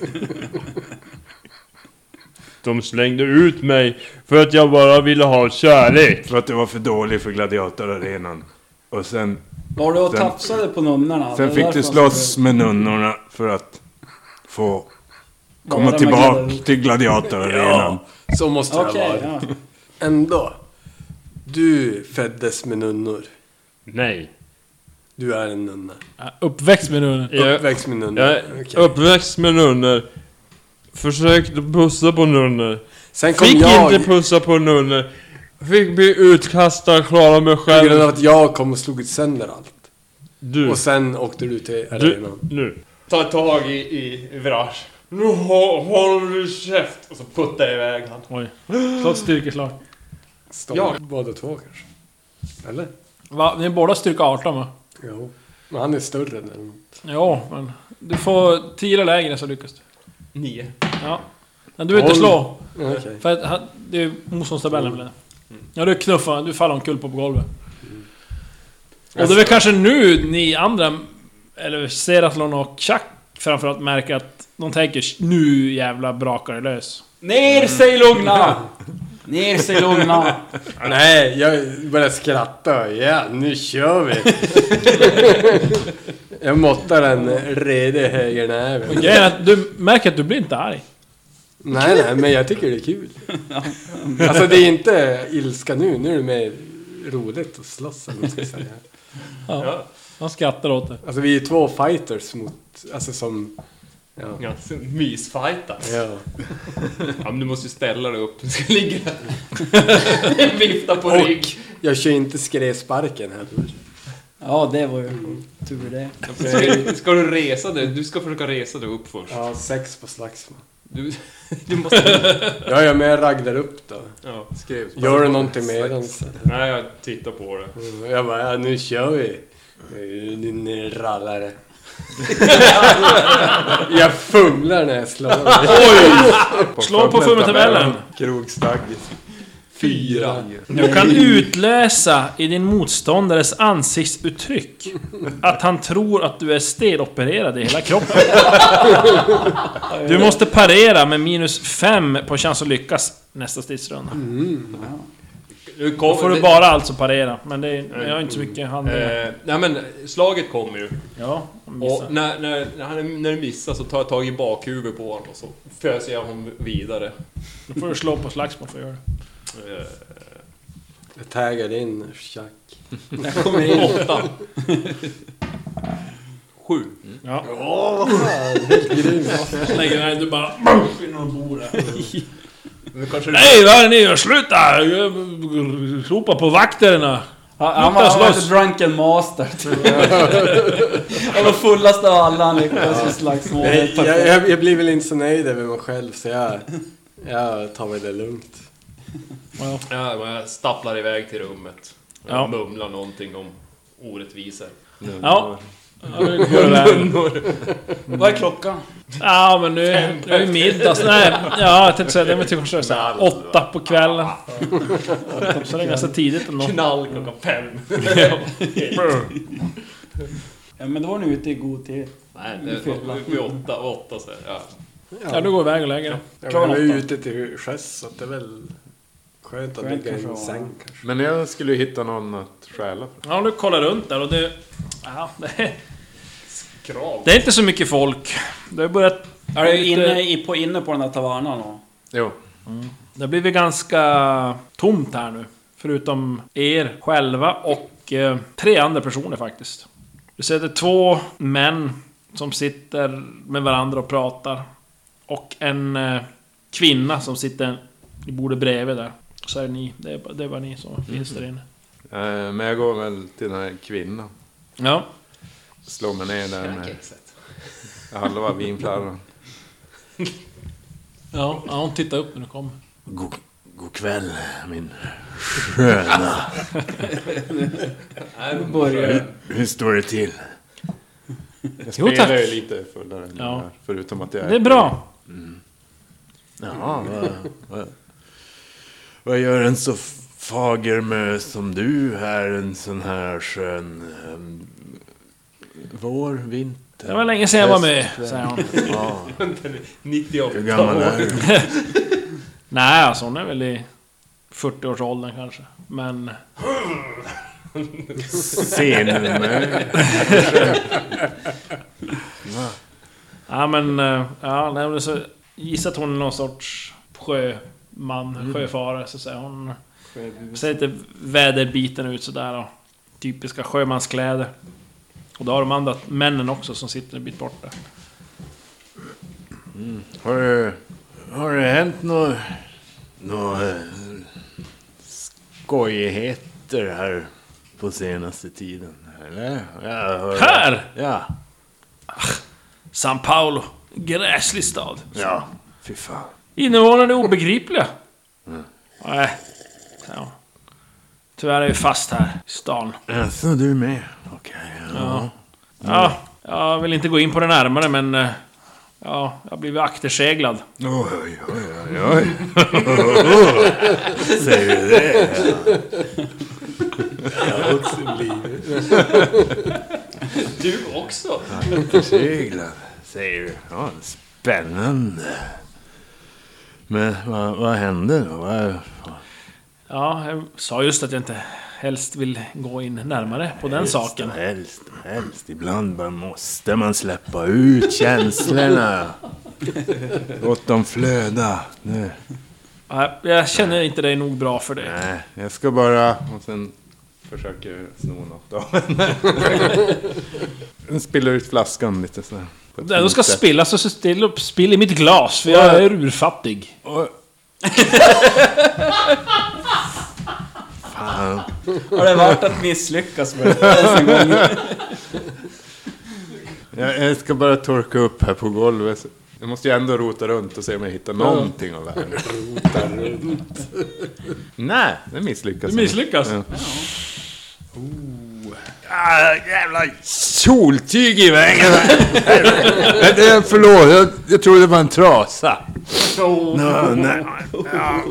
S6: <laughs> de slängde ut mig för att jag bara ville ha kärlek.
S1: För att du var för dålig för gladiatorarenan. Och sen,
S2: Var du och
S1: Sen-
S2: tafsade på nunnorna?
S1: sen
S2: Det
S1: fick
S2: var
S1: du
S2: därför
S1: slåss med nunnorna för att få
S2: han skulle
S1: komma
S2: vara
S1: tillbaka
S2: med-
S1: till gladiatorarenan.
S5: Så måste det ha
S2: Okej,
S5: varit.
S2: ja.
S5: Ändå. Du föddes med nunnor.
S6: Nej.
S5: Du är en nunna.
S3: Uppväxt med nunnen.
S6: Jag,
S5: Uppväxt med nunnor.
S6: jag är
S5: Okej.
S6: uppväxt med nunnor. Försökte pussa på nunnor.
S5: Sen kom
S6: Fick
S5: jag.
S6: inte pussa på nunnor. Fick bli utkastad, klara mig
S5: På grund av
S6: själv.
S5: att jag kom och slog sönder allt.
S6: Du,
S5: Och sen åkte du till
S6: du,
S5: arenan.
S6: nu. Ta tag i, i, i Vrash. Nu hå- håller du käft! Och så puttar jag iväg han.
S3: Oj. Slå ett styrkeslag.
S5: Stånd.
S6: Ja.
S5: Båda två kanske. Eller?
S3: Va? Ni är båda styrka 18 va?
S5: Jo. Men han är större än
S3: Ja, men... Du får 10 eller lägre så lyckas du.
S6: Nio.
S3: Ja. Men du vill inte
S5: Tolv.
S3: slå.
S5: Okej.
S3: För att han, det är motståndstabellen blir Ja, du knuffar. Du faller omkull på golvet.
S5: Mm.
S3: Och det är väl kanske nu ni andra, eller Seratlon och Chuck framförallt märker att de tänker "Sh, nu jävla brakar det
S5: <laughs>
S3: lös.
S2: Ner sig lugna!
S1: Mm.
S2: Ner sig lugna!
S5: Nej, jag börjar skratta. Ja, nu kör <laughs> vi! jag måttar en redig högernäve.
S3: Grejen är att du märker att du blir inte arg.
S5: Nej, nej, men jag tycker det är kul. Alltså det är inte ilska nu, nu är det mer roligt att slåss eller vad man ska säga.
S3: Ja. Han skrattar åt det.
S5: Alltså vi är två fighters mot, alltså som... Ja.
S7: Ja, så mysfajtas.
S5: ja.
S7: Ja, men du måste ju ställa dig upp. Du ska ligga där. Vifta på
S5: Och-
S7: rygg.
S5: Jag kör inte skredsparken heller.
S2: Ja, det var ju tur det.
S7: Ska, ska du resa dig? Du ska försöka resa dig upp först.
S5: Jag har sex på slagsmål.
S6: Du, du måste...
S5: Ja, ja, men jag raggar upp då.
S6: Ja.
S7: Skrev.
S5: Gör du någonting med den så...
S6: Nej, jag tittar på det.
S5: Jag bara, ja, nu kör vi. Eh, Din rallare. jag fumlar när jag slår.
S3: Slå på fummeltabellen.
S4: Krogstagg.
S5: Fyra.
S3: Du kan utläsa i din motståndares ansiktsuttryck att han tror att du är stelopererad i hela kroppen. Du måste parera med minus 5 på chans att lyckas nästa stridsrunda.
S6: Mm. Nu
S3: Då
S6: kom,
S3: får du bara alltså parera, men det är, jag har inte så mycket handlingar.
S6: Eh, nej men, slaget kommer ju.
S3: Ja, missa.
S6: Och när, när, när, han, när det missar så tar jag tag i bakhuvudet på honom och så föser jag honom vidare.
S3: Då får du slå på slagsmål för att göra det.
S6: Eh,
S5: Jag taggar in tjack.
S6: jag kommer in åtta. Sju.
S3: Ja.
S6: Lägger den här, du bara... Nu kanske du...
S3: Nej, vad är det ni gör? Sluta! Ropa på vakterna!
S2: Han, han var, han var
S3: slåss.
S2: lite drunken master. tror jag. Han var fullast av alla. Han lyckades med slagsmål.
S5: Nej, jag, jag, jag blir väl inte så nöjd över mig själv så jag, jag tar mig det lugnt.
S6: Ja, men jag stapplar iväg till rummet. Jag
S3: Ja.
S6: mumlar någonting om orättvisor.
S3: Ja. Ja, nu går det där.
S2: Vad är klockan?
S3: Ja men nu är det ju middag. så- Nej, ja, jag tänkte säga det men typ kanske så här, åtta på kvällen. Så det är ganska tidigt ändå.
S6: Knall klockan <laughs> fem.
S2: Ja, men då var ni ute i god tid.
S6: Nej, det var vid åtta, åtta så här. Ja.
S3: Ja, du går iväg och lägger dig.
S5: Jag
S2: Klockan
S5: var ju
S2: åtta.
S5: ute till sjöss så att det är väl skönt att
S2: Skönt
S5: ligga i en
S2: kanske, ja.
S5: säng kanske.
S4: Men jag skulle ju hitta någon att stjäla från.
S3: Ja, du kollar runt där och du... Ja, det, är,
S6: Krav.
S3: det är inte så mycket folk. Det har börjat...
S2: Är du inne, i, på, inne på den här tavernan då?
S4: Jo.
S3: Det har blivit ganska tomt här nu. Förutom er själva och eh, tre andra personer faktiskt. Du ser det är två män som sitter med varandra och pratar. Och en eh, kvinna som sitter i bordet bredvid där. Så är det ni. Det är, bara- det är bara ni som finns där inne.
S4: Eh, Men jag går väl till den här kvinnan.
S3: Ja.
S4: Slår mig ner där med halva vinflarran.
S3: Ja, ja, hon tittar upp när du kommer.
S4: God, god kväll min sköna.
S2: Då börjar det.
S4: Hur står det till? Jag
S3: Jo,
S4: spelar
S3: tack.
S4: ju lite fullare än
S3: Ja.
S4: ja. här, förutom att jag
S3: Det är bra.
S4: Ja, vad, vad, vad gör en så fager mö som du här en sån här skön ehm, vår, vinter?
S3: Det var länge sedan jag var med, säger hon.
S4: Ja,
S6: 98
S4: hur gammal
S6: år.
S4: är <laughs> du?
S3: Nej, alltså hon är väl i 40-årsåldern kanske. Men...
S4: Senmö?
S3: Ja men, eh, ja, nej, men så gissa att hon är någon sorts sjöman, sjöfarare så att säga. Hon ser lite väderbiten ut sådär och typiska sjömanskläder. Och då har de andra männen också som sitter en bit borta.
S4: Har det, har det hänt några nå, eh, skojigheter här på senaste tiden? Eller? Jag hör-
S3: Här!
S4: Ja.
S3: San Paulo, gräslig stad.
S4: Ja. Fy fan.
S3: Invånarna är obegripliga. Nej, säger hon. Tyvärr är vi fast här i stan.
S4: Jaså, Alltså, du är med? Okej. ja.
S3: Ja, jag vill inte gå in på det närmare men... eh, Ja, jag har blivit akterseglad.
S4: Oj, oj, oj, oj. Säger du det?
S6: Du också?
S4: Akterseglad, säger du. Ja, spännande. Men vad, vad hände då? Vad,
S3: Ja, jag sa just att jag inte helst vill gå in närmare på den saken.
S4: Helst, helst. Ibland bara måste man släppa ut känslorna. <laughs> Låt dem flöda. Nu.
S3: Nej, Jag känner inte dig nog bra för det.
S4: Nej, jag ska bara... Och sen försöker sno något av <laughs> henne. Den spiller ut flaskan lite sådär. på ett
S3: Nej, Då ska
S4: fint sätt.
S3: spilla så se till att spill i mitt glas, för jag är urfattig.
S4: Oj. Fan.
S2: Har det varit att misslyckas med det en gång?
S4: Jag, jag ska bara torka upp här på golvet. Jag måste ju ändå rota runt och se om jag hittar någonting av
S3: <laughs>
S4: värde. Rota runt. Nej, det misslyckas.
S3: Du misslyckas?
S4: Ja. Ah, jävla kjoltyg i <laughs> vägen! Men det- Förlåt, jag, jag trodde det var en trasa. Nå, nej. <laughs> Ja.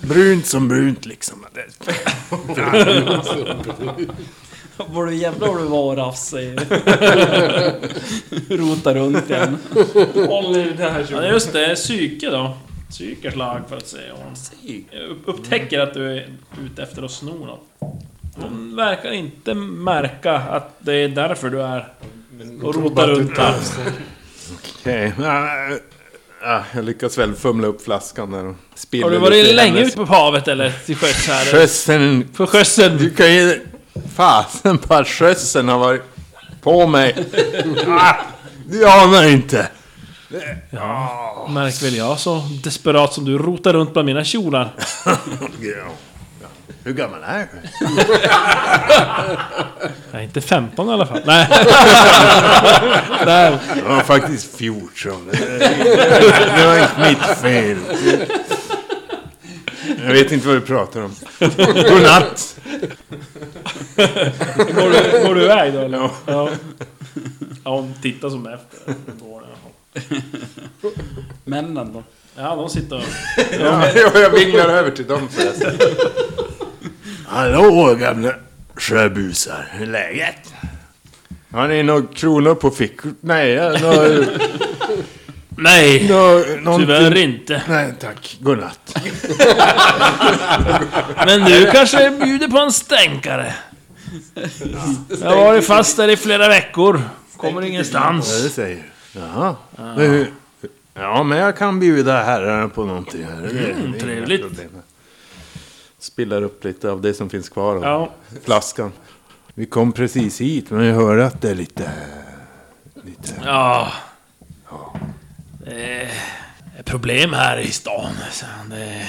S4: Brunt som brunt liksom. Det-
S2: Var du jävlar vad du var rafsig. Rota runt igen. Håll i det här
S3: Ja, just det. Psyke då. Psykers lag för att se om... Upp- Upptäcker att du är ute efter att sno något. Hon verkar inte märka att det är därför du är och rotar runt här.
S4: Okej. Ah, ah, Jag lyckas väl fumla upp flaskan där och spiller
S3: Har du
S4: lite
S3: varit
S4: i
S3: länge
S4: hennes-
S3: ute på havet eller till sjöss här?
S4: Sjössen
S3: På sjössen?
S4: Du kan ju... Fasen bara skötseln har varit på mig. Ah, du anar inte.
S3: Märk väl jag så desperat som du rotar runt bland mina kjolar.
S4: Ja. Hur gammal är du?
S3: Nej, inte 15 i alla fall. <laughs> Nej.
S4: Jag var faktiskt 14. Det var inte mitt fel. Jag vet inte vad du pratar om. Godnatt!
S3: Går du, går du iväg då eller?
S4: Ja.
S3: Ja. ja hon tittar som efter. Hon går där.
S2: Männen då?
S3: Ja, de sitter och...
S4: Ja, jag vinglar över till dem förresten. Hallå gamla sjöbusar. Hur är läget? Har ni några kronor på fickor? Nej, jag- några...
S3: Nej!
S4: några- någonting-
S3: Tyvärr inte.
S4: Nej tack, godnatt.
S3: Men du kanske bjuder på en stänkare? Jag har varit fast där i flera veckor. Kommer
S4: Ja, det
S3: ingenstans.
S4: säger du. Jaha. Det- Ja, men jag kan bjuda herrarna på någonting här. Det är- det är inga
S3: Mm, trevligt.
S4: problem. Spillar upp lite av det som finns kvar av
S3: Ja.
S4: flaskan. Vi kom precis hit, men vi hörde att det är lite...
S3: Ja. Det är problem här i stan. Så det,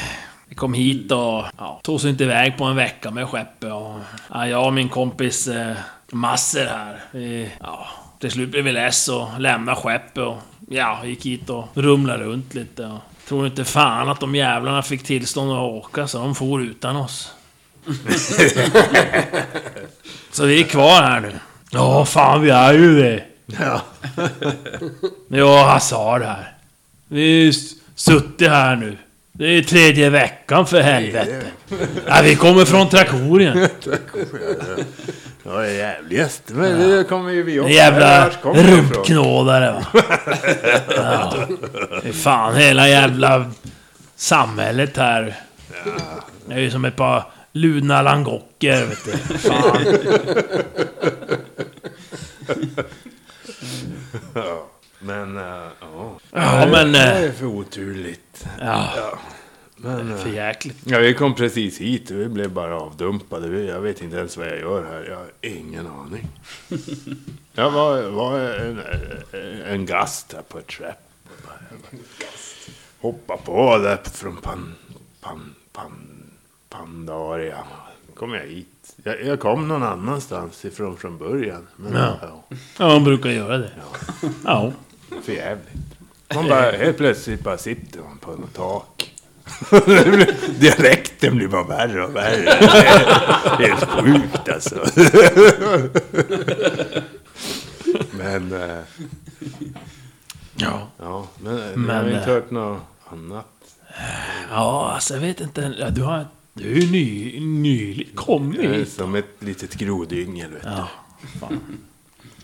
S3: vi kom hit och ja, tog oss inte iväg på en vecka med skeppet. Och, ja, jag och min kompis eh, Masser här. Vi, ja, till slut blev vi less och lämnade skeppet och ja, gick hit och rumlade runt lite. Och, tror inte fan att de jävlarna fick tillstånd att åka så de for utan oss. så vi är kvar här nu. Ja, fan vi är ju det. Men jag och Hazard här. Vi har s- suttit här nu. Det är tredje veckan för helvete. Ja, vi kommer från Trakorien.
S4: Ja, det är jävligast. Men det kommer ju vi också.
S3: Den jävla
S4: Annars kommer vi ifrån.
S3: rumpknådare va. Ja. Det är fan hela jävla samhället här. Det är ju som ett par ludna langocker vet du. Fan.
S4: Ja, Men, eh, ja.
S3: Ja men...
S4: Det
S3: eh,
S4: är för oturligt.
S3: Ja,
S4: Men, eh,
S3: för jäkligt.
S4: ja, vi kom precis hit och vi blev bara avdumpade. Vi- Jag vet inte ens vad jag gör här. Jag har ingen aning. Jag var, var en, en gast här på ett skepp. Hoppa på där från pan, pan, pan, Pandaria. kom jag hit. Jag, jag kom någon annanstans ifrån från början. Men,
S3: Ja.
S4: ja.
S3: Ja, de brukar göra det. Ja.
S4: För jävligt. Man <laughs> bara, helt plötsligt bara sitter man på något tak. <laughs> Det blir- Dialekten blir bara värre och värre. <laughs> Det är Helt sjukt alltså. <laughs> Men... eh,
S3: Ja.
S4: Ja, men, eh,
S3: Men,
S4: jag har
S3: eh,
S4: inte hört något annat.
S3: Ja, alltså jag vet inte. Ja, Du har... Du är ju ny, nyligen kommit
S4: Jag är
S3: hit.
S4: Eh, som ett litet grodyngel vet du.
S3: Ja, fan.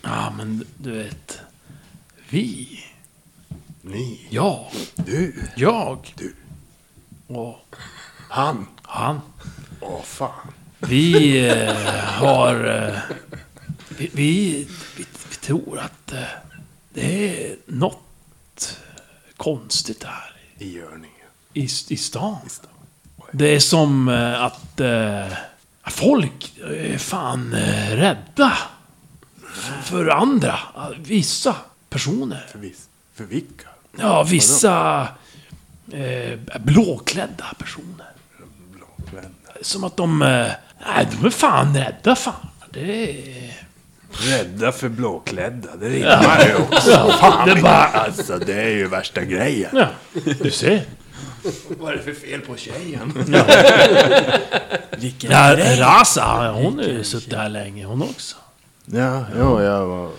S3: Ja, men du vet. Vi.
S4: Ni,
S3: Jag.
S4: du,
S3: Jag.
S4: Du.
S3: Och
S4: han.
S3: han.
S4: Åh fan.
S3: Vi eh, har... Eh, vi, vi, vi, vi tror att eh, det är något konstigt här
S4: I görningen.
S3: i, i stan. Det är som eh, att eh, folk är fan eh, rädda för andra, eh, vissa personer.
S4: För, vis, för vilka?
S3: Ja, vissa eh, blåklädda personer.
S4: Blåklädda.
S3: Som att de... Eh, nej, de är fan rädda fan. Det är...
S4: Rädda för blåklädda, det rimmar
S3: <laughs>
S4: ju också. Fan, det bara... Alltså det är ju värsta grejen.
S3: Ja, du ser.
S4: Vad är det för fel på tjejen?
S3: Ja, Rasa, hon har ju suttit här länge hon också.
S4: Ja, jo, jag var...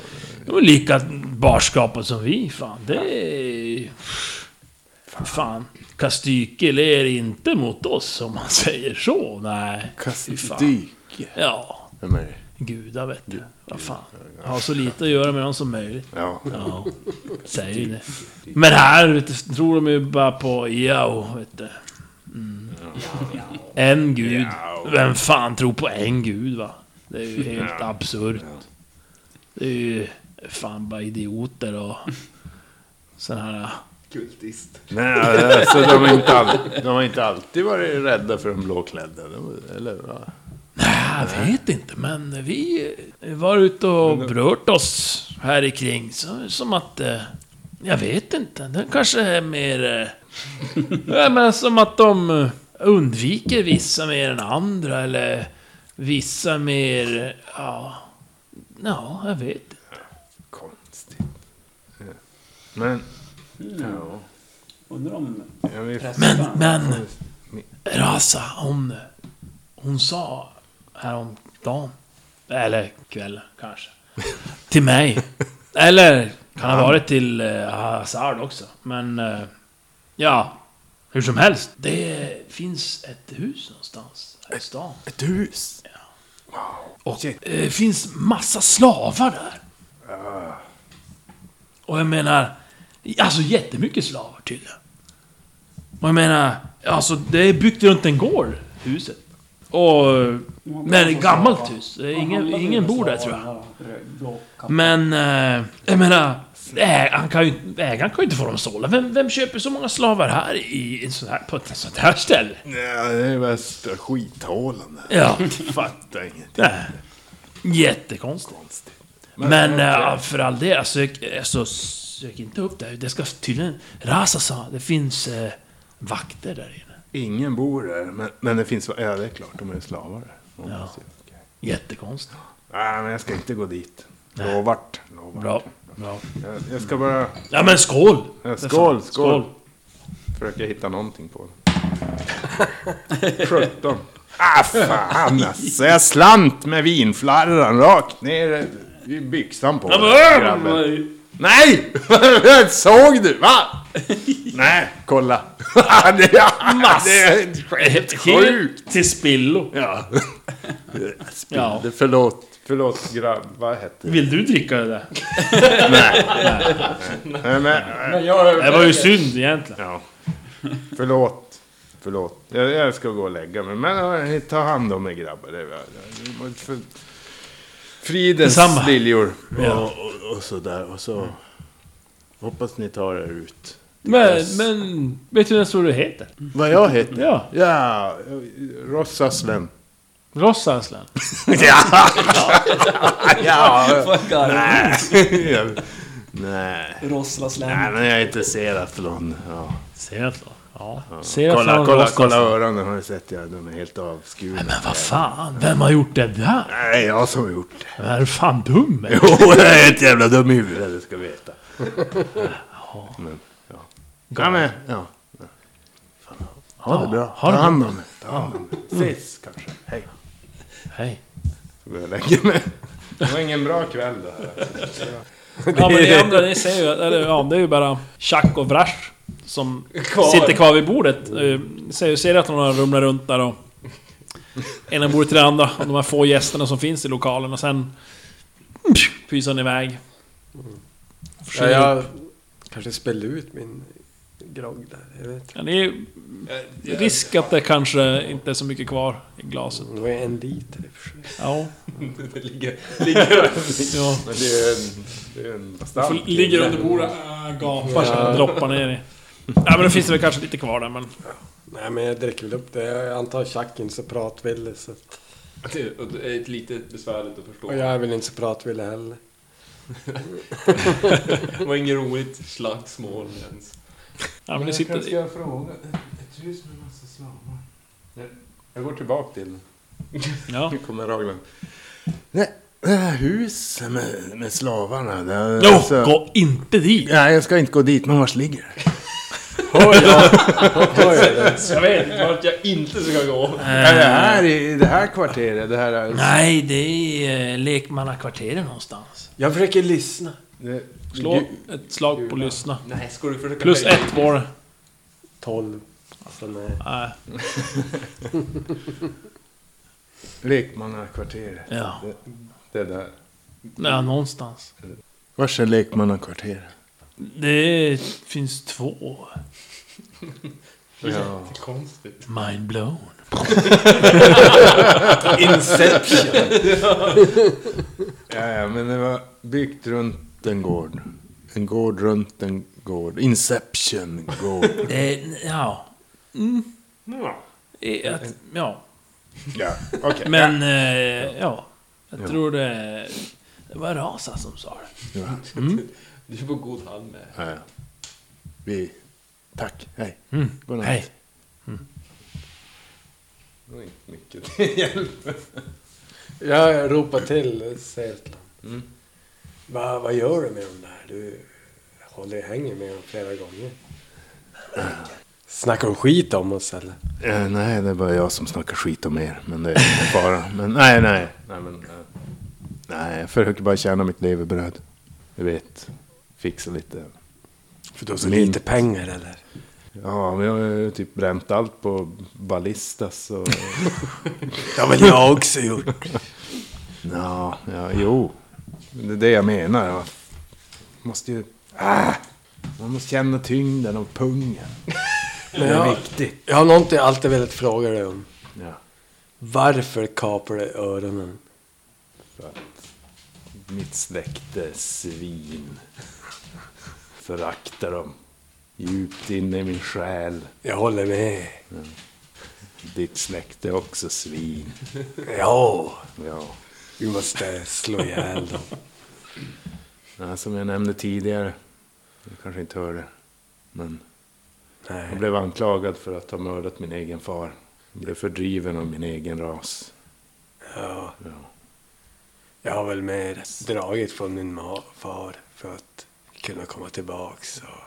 S3: De är lika barskapade som vi, fan. Det är... Fan. Kastykel är inte mot oss, om man <laughs> säger så. Nej. Fy fan.
S4: Dyke.
S3: Ja.
S4: Vem är det?
S3: Gudar vet du. Vad fan. Jag har så lite att göra med dem som möjligt.
S4: Ja.
S3: Ja. Säger ju det. Men här vet du, tror de ju bara på Yao, vet du. Mm. En gud. Vem fan tror på en gud, va? Det är ju helt absurt. Det är ju fan bara idioter och sån här...
S4: Nej, alltså de har, inte all... de har inte alltid varit rädda för de blåklädda. De... Eller va?
S3: Nej, jag vet inte, men vi var ute och brört oss här i kring. Så, som att... Eh, jag vet inte, det kanske är mer... Eh, ja, men som att de eh, undviker vissa mer än andra, eller vissa mer... eh, Ja, ja jag vet inte.
S4: Konstigt. Ja. Men... Ja.
S2: Undrar om
S4: Jag vill...
S3: Men, men... Rasa, hon... Hon sa häromdagen, eller kvällen kanske, till mig. Eller kan ha varit till eh, Hazard också. Men eh, ja, hur som helst. Det finns ett hus någonstans här i stan.
S4: Ett hus.
S3: Och det finns massa slavar där. Och jag menar, alltså jättemycket slavar tydligen. Och jag menar, alltså det är byggt runt en gård, huset. Och... Men det är ett gammalt hus. Det är Ingen, ingen bor där tror
S2: Mm.
S3: jag. Men... Eh, jag menar... Äg, han kan ju, ägaren kan ju inte få dem sålda. Vem, vem köper så många slavar här i en sån här, på ett sånt här ställe?
S4: Ja, det är värsta skithålan där.
S3: Ja.
S4: Fattar ingenting.
S3: Nej. Jättekonstigt. Men, eh, för all del, sök, alltså, sök inte upp det. Det ska tydligen... Rasa sa, det finns eh, vakter där inne.
S4: Ingen bor där, men, men det finns... Ja, det är klart, de är slavar där. De
S3: Ja.
S4: måste ju- okej.
S3: Jättekonstigt.
S4: Nej, men jag ska inte gå dit.
S3: Nej.
S4: Lovart. Lovart.
S3: Bra. Bra.
S4: Jag, jag ska bara...
S3: Ja men skål!
S4: Ja, skål,
S3: För fan,
S4: skål. Försöka hitta någonting på den. 17. Ah fan alltså, jag slant med vinflarran rakt ner i byxan på mig, grabben. Nej! <laughs> Såg du? Va? Nej, kolla. <laughs> det, är, det är helt sjukt.
S3: Helt till spillo.
S4: Ja.
S3: Ja.
S4: Förlåt, förlåt grabb. Vad hette det?
S3: Vill du dricka det där?
S4: Nej, men,
S5: Men jag...
S3: Det var ju synd egentligen.
S4: Ja. Förlåt. Förlåt. Jag, jag ska gå och lägga mig. Men eh, ta hand om er grabbar. Det var- det var för- Fridens
S3: Detsamma.
S4: liljor.
S3: Ja.
S4: Och, och, och sådär. Och så. Hoppas ni tar er ut.
S3: Men, men... Vet du vem tror du heter?
S4: Vad jag heter?
S3: Ja.
S4: Ja, Rossa <laughs> Sven.
S3: Rossaslan.
S4: ja! ja.
S2: Fuckar.
S4: Nej. Nej.
S2: Rossla
S4: Nej,
S2: slem.
S4: men jag är intresserad från... Ja.
S3: Seraflan. Ja.
S4: Kolla,
S3: Seraflan
S4: kolla,
S3: Rossaslan.
S4: kolla öronen. Har du sett? Ja, de är helt avskurna.
S3: Men vad fan, vem har gjort det där?
S4: Nej, jag som har gjort det. <laughs>
S3: Vem Är du fan dum eller?
S4: Jo, jag är helt jävla dum i huvudet, det ska vi veta. Men, ja. Ja, men, ja. Ha det bra.
S3: Ha det
S4: Ta
S3: bra.
S4: hand om er. Ta hand om er. Ses kanske. Hej.
S3: Hej.
S4: Så går jag och lägger mig. Det var ingen bra kväll det här.
S3: Ja men <laughs> det andra, ni ser ju, eller ja, det är ju bara tjack och vrasch som sitter kvar vid bordet. Eh, Ser, ser att de rumlar runt där och... Ena bordet till det andra, och de här få gästerna som finns i lokalen och sen... Pyser han iväg.
S5: Ja, jag kanske spällde ut min grogg där. Jag vet.
S3: Ja, det är ju risk att det kanske inte är så mycket kvar i glaset.
S5: Det var ju en liter i och för sig.
S3: Ja.
S7: Det ligger, ligger,
S3: ja.
S4: Men det är en... Det är en bastard.
S7: ligger under bordet. Äh,
S3: Bara så här droppar ner i. Ja men då finns det väl kanske lite kvar där men...
S5: Nej men jag dricker väl upp det. Jag antar tjack inte så pratvillig så att...
S7: Det- och det är ett lite besvärligt att förstå.
S5: Och jag är väl inte så pratvillig heller.
S7: Det var inget roligt slagsmål ens.
S3: Ja men det
S4: Jag
S3: sitter...
S4: ska fråga. Ett hus med massa slavar. Jag- Jag går tillbaka till
S3: Ja.
S4: Nu kommer Raglan. Nej, Det här huset med, med slavarna. Det,
S3: Jo,
S4: alltså-
S3: gå inte dit!
S4: Nej, jag ska inte gå dit, men vars ligger det?
S7: Jag vet vart jag inte ska gå.
S4: Är det här i i det här kvarteret? Det här är...
S3: Nej, det är eh, lekmannakvarteret någonstans.
S5: Jag försöker lyssna.
S4: Det,
S3: Slå ett slag på lyssna.
S7: Nej, ska du försöka...
S3: Plus ett var det.
S5: 12. Alltså, nej.
S3: Nej.
S4: lekmannakvarteret.
S3: Ja.
S4: Det där.
S3: ja, någonstans.
S4: Vars är lekmannakvarteret?
S3: Det finns två.
S4: Ja.
S7: Konstigt.
S3: Mind blown.
S5: Inception!
S4: Ja, ja, men det var byggt runt en gård. En gård runt en gård. Inception gård. <laughs>
S3: Det är, ja. Mm. I Att, ja.
S4: ja, okej.
S3: Men, eh, ja. Jag tror det... Det var Rasa som sa det.
S4: Ja,
S7: Du är på god hand med.
S4: ja, ja. Vi... Tack, hej. Godnatt.
S3: Mm. Hej.
S7: Det var inte mycket.
S5: Jag ropar till Zetland.
S4: Mm.
S5: Va, vad gör du med dem där? Du håller, hänger med dem flera gånger. Snackar de skit om oss eller?
S4: Eh, nej, det är bara jag som snackar skit om er. Men det är
S3: <laughs>
S4: ingen fara. Men nej, nej. Nej, men, eh, nej, jag försöker bara tjäna mitt levebröd. Du vet, fixa lite.
S5: För du har så
S4: Min-
S5: lite pengar eller?
S4: Ja, vi har ju typ bränt allt på Ballistas
S5: <laughs>
S4: och...
S5: Det har väl jag också gjort.
S4: Nå, ja, jo. Det är det jag menar. va. Måste ju... Ah, man måste känna tyngden av pungen.
S5: Men jag,
S4: Viktigt.
S5: jag har någonting jag alltid velat fråga dig om.
S4: Ja,
S5: Varför kapar du öronen?
S4: för att mitt släkte svin föraktar dem djupt inne i min själ.
S5: Jag håller med.
S4: Ditt släkte är också svin.
S5: Ja,
S4: Ja.
S5: vi måste slå ihjäl dem.
S4: Ja, Som jag nämnde tidigare, du kanske inte hörde, men jag
S5: Nej.
S4: blev anklagad för att ha mördat min egen far. Jag blev fördriven av min egen ras.
S5: Ja,
S4: Ja.
S5: jag har väl mer dragit från min ma- far för att kunna komma tillbaks. Och...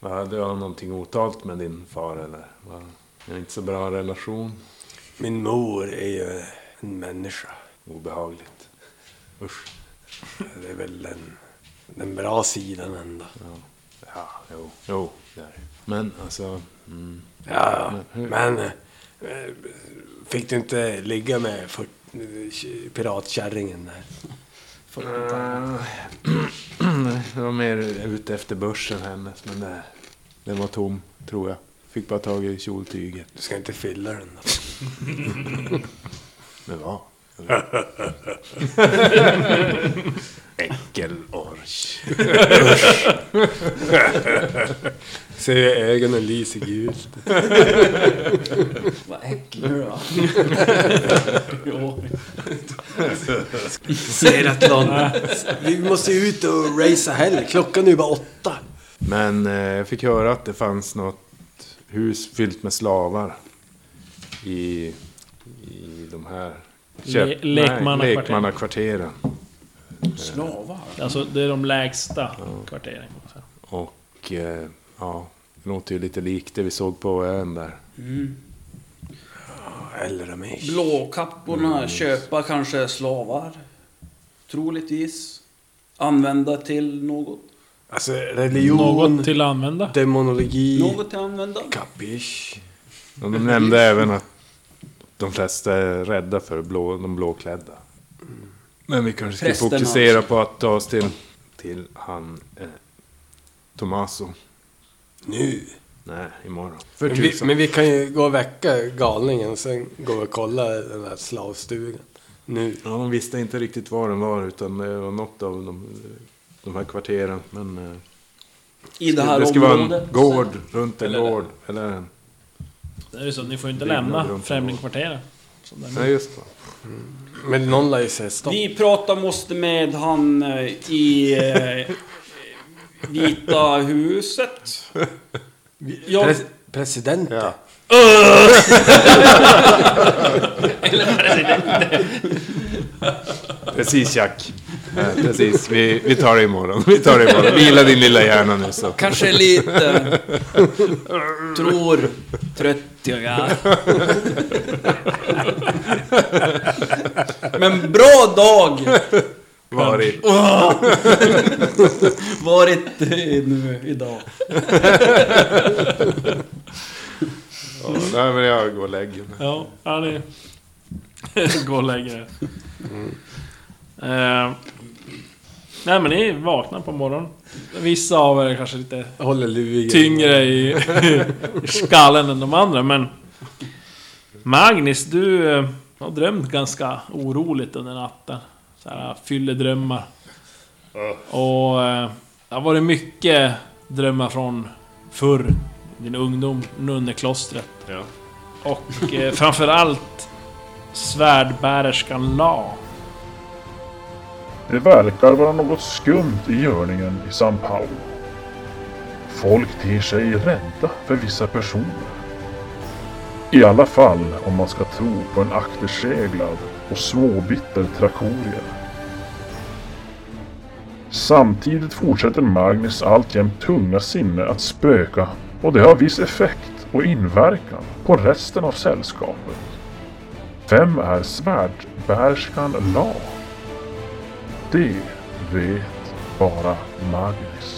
S4: Va, du har någonting otalt med din far eller? Va? Ni har inte så bra relation?
S5: Min mor är ju en människa.
S4: Obehagligt. Usch.
S5: Det är väl den, den bra sidan ändå.
S4: Ja, jo, jo, det är det. Men alltså... Mm.
S5: Ja, men eh, fick du inte ligga med för, piratkärringen där?
S4: <clears throat> Nej, jag var mer Eh, ute efter börsen hennes, men det, den var tom, tror jag. Fick bara tag i kjoltyget.
S5: Du ska inte fylla den. då.
S4: <laughs> Men
S5: <laughs>
S4: vad? <laughs>
S5: <laughs>
S4: Äckelorch.
S5: Ser jag ögonen lyser gult.
S2: Vad äcklig du är. Jo.
S5: Ser att någon... Vi måste ju ut och racea helg. Klockan är ju bara åtta.
S4: Men eh, jag fick höra att det fanns något hus fyllt med slavar i, i de här
S3: Le-
S4: nej,
S3: lekmannakvarteren.
S4: lekmannakvarteren.
S2: Slavar?
S3: Alltså, det är de lägsta kvarteren. kan man säga.
S4: Och eh, ja, det låter ju lite likt det vi såg på ön där.
S5: Eller mig.
S2: Blåkapporna köpa kanske slavar. Troligtvis. Använda till något.
S5: Alltså religion,
S3: Något till att använda.
S5: demonologi,
S2: Något till använda.
S5: kapisch.
S4: Och
S3: <laughs>
S4: de nämnde även att de flesta är rädda för blå, de blåklädda. Men vi kanske ska
S2: Prästerna.
S4: fokusera på att ta oss till, till han eh, Tommaso.
S5: Nu.
S4: Nej, imorgon. För
S5: Men vi,
S4: tusan.
S5: men vi kan ju gå och väcka galningen, sen gå och kolla den där slavstugan. Nu.
S4: Ja, de visste inte riktigt var den var utan det var något av de, de här kvarteren. Men eh,
S2: I det här
S4: det skulle vara en
S2: området.
S4: gård runt en
S7: Eller-
S4: gård. Eller en...
S3: Det är ju så, ni får ju inte
S4: Byggnad
S3: lämna
S4: runt
S3: främlingkvarteret. Som där.
S4: Nej, just det.
S5: Men någon lär ju säga stopp.
S2: Vi pratar måste med han eh, i <laughs> eh, Vita huset. Jag,
S4: Präst-
S5: presidenter.
S4: Ja. Precis Jack. Ja, precis, vi, vi tar det imorgon. Vi tar det <laughs> imorgon. Vila din lilla hjärna nu så.
S8: Kanske lite... tror... Tröttiga. Men bra dag!
S4: Varit.
S2: Varit eh, nu idag.
S4: Ja, nej men jag går och lägger mig.
S3: Ja, han är... <laughs> Gå och lägg er. Eh, nej men ni vaknar på morgonen. Vissa av er är kanske lite
S5: Jag håller Ludvig.
S3: tyngre i i skallen än de andra men... Magnus, du eh, har drömt ganska oroligt under natten. Så här, fylledrömmar. Och... eh, Det har varit mycket drömmar från förr. Din ungdom, nunneklostret.
S7: Ja.
S3: Och eh, framförallt svärdbärerskan La.
S1: Det verkar vara något skumt i görningen i São Paulo. Folk ter sig rädda för vissa personer. I alla fall om man ska tro på en akterseglad och småbitter trakorier. Samtidigt fortsätter Magnus alltjämt tunga sinne att spöka och det har viss effekt och inverkan på resten av sällskapet. Vem är svärdbärskan La? Det vet bara Magnus.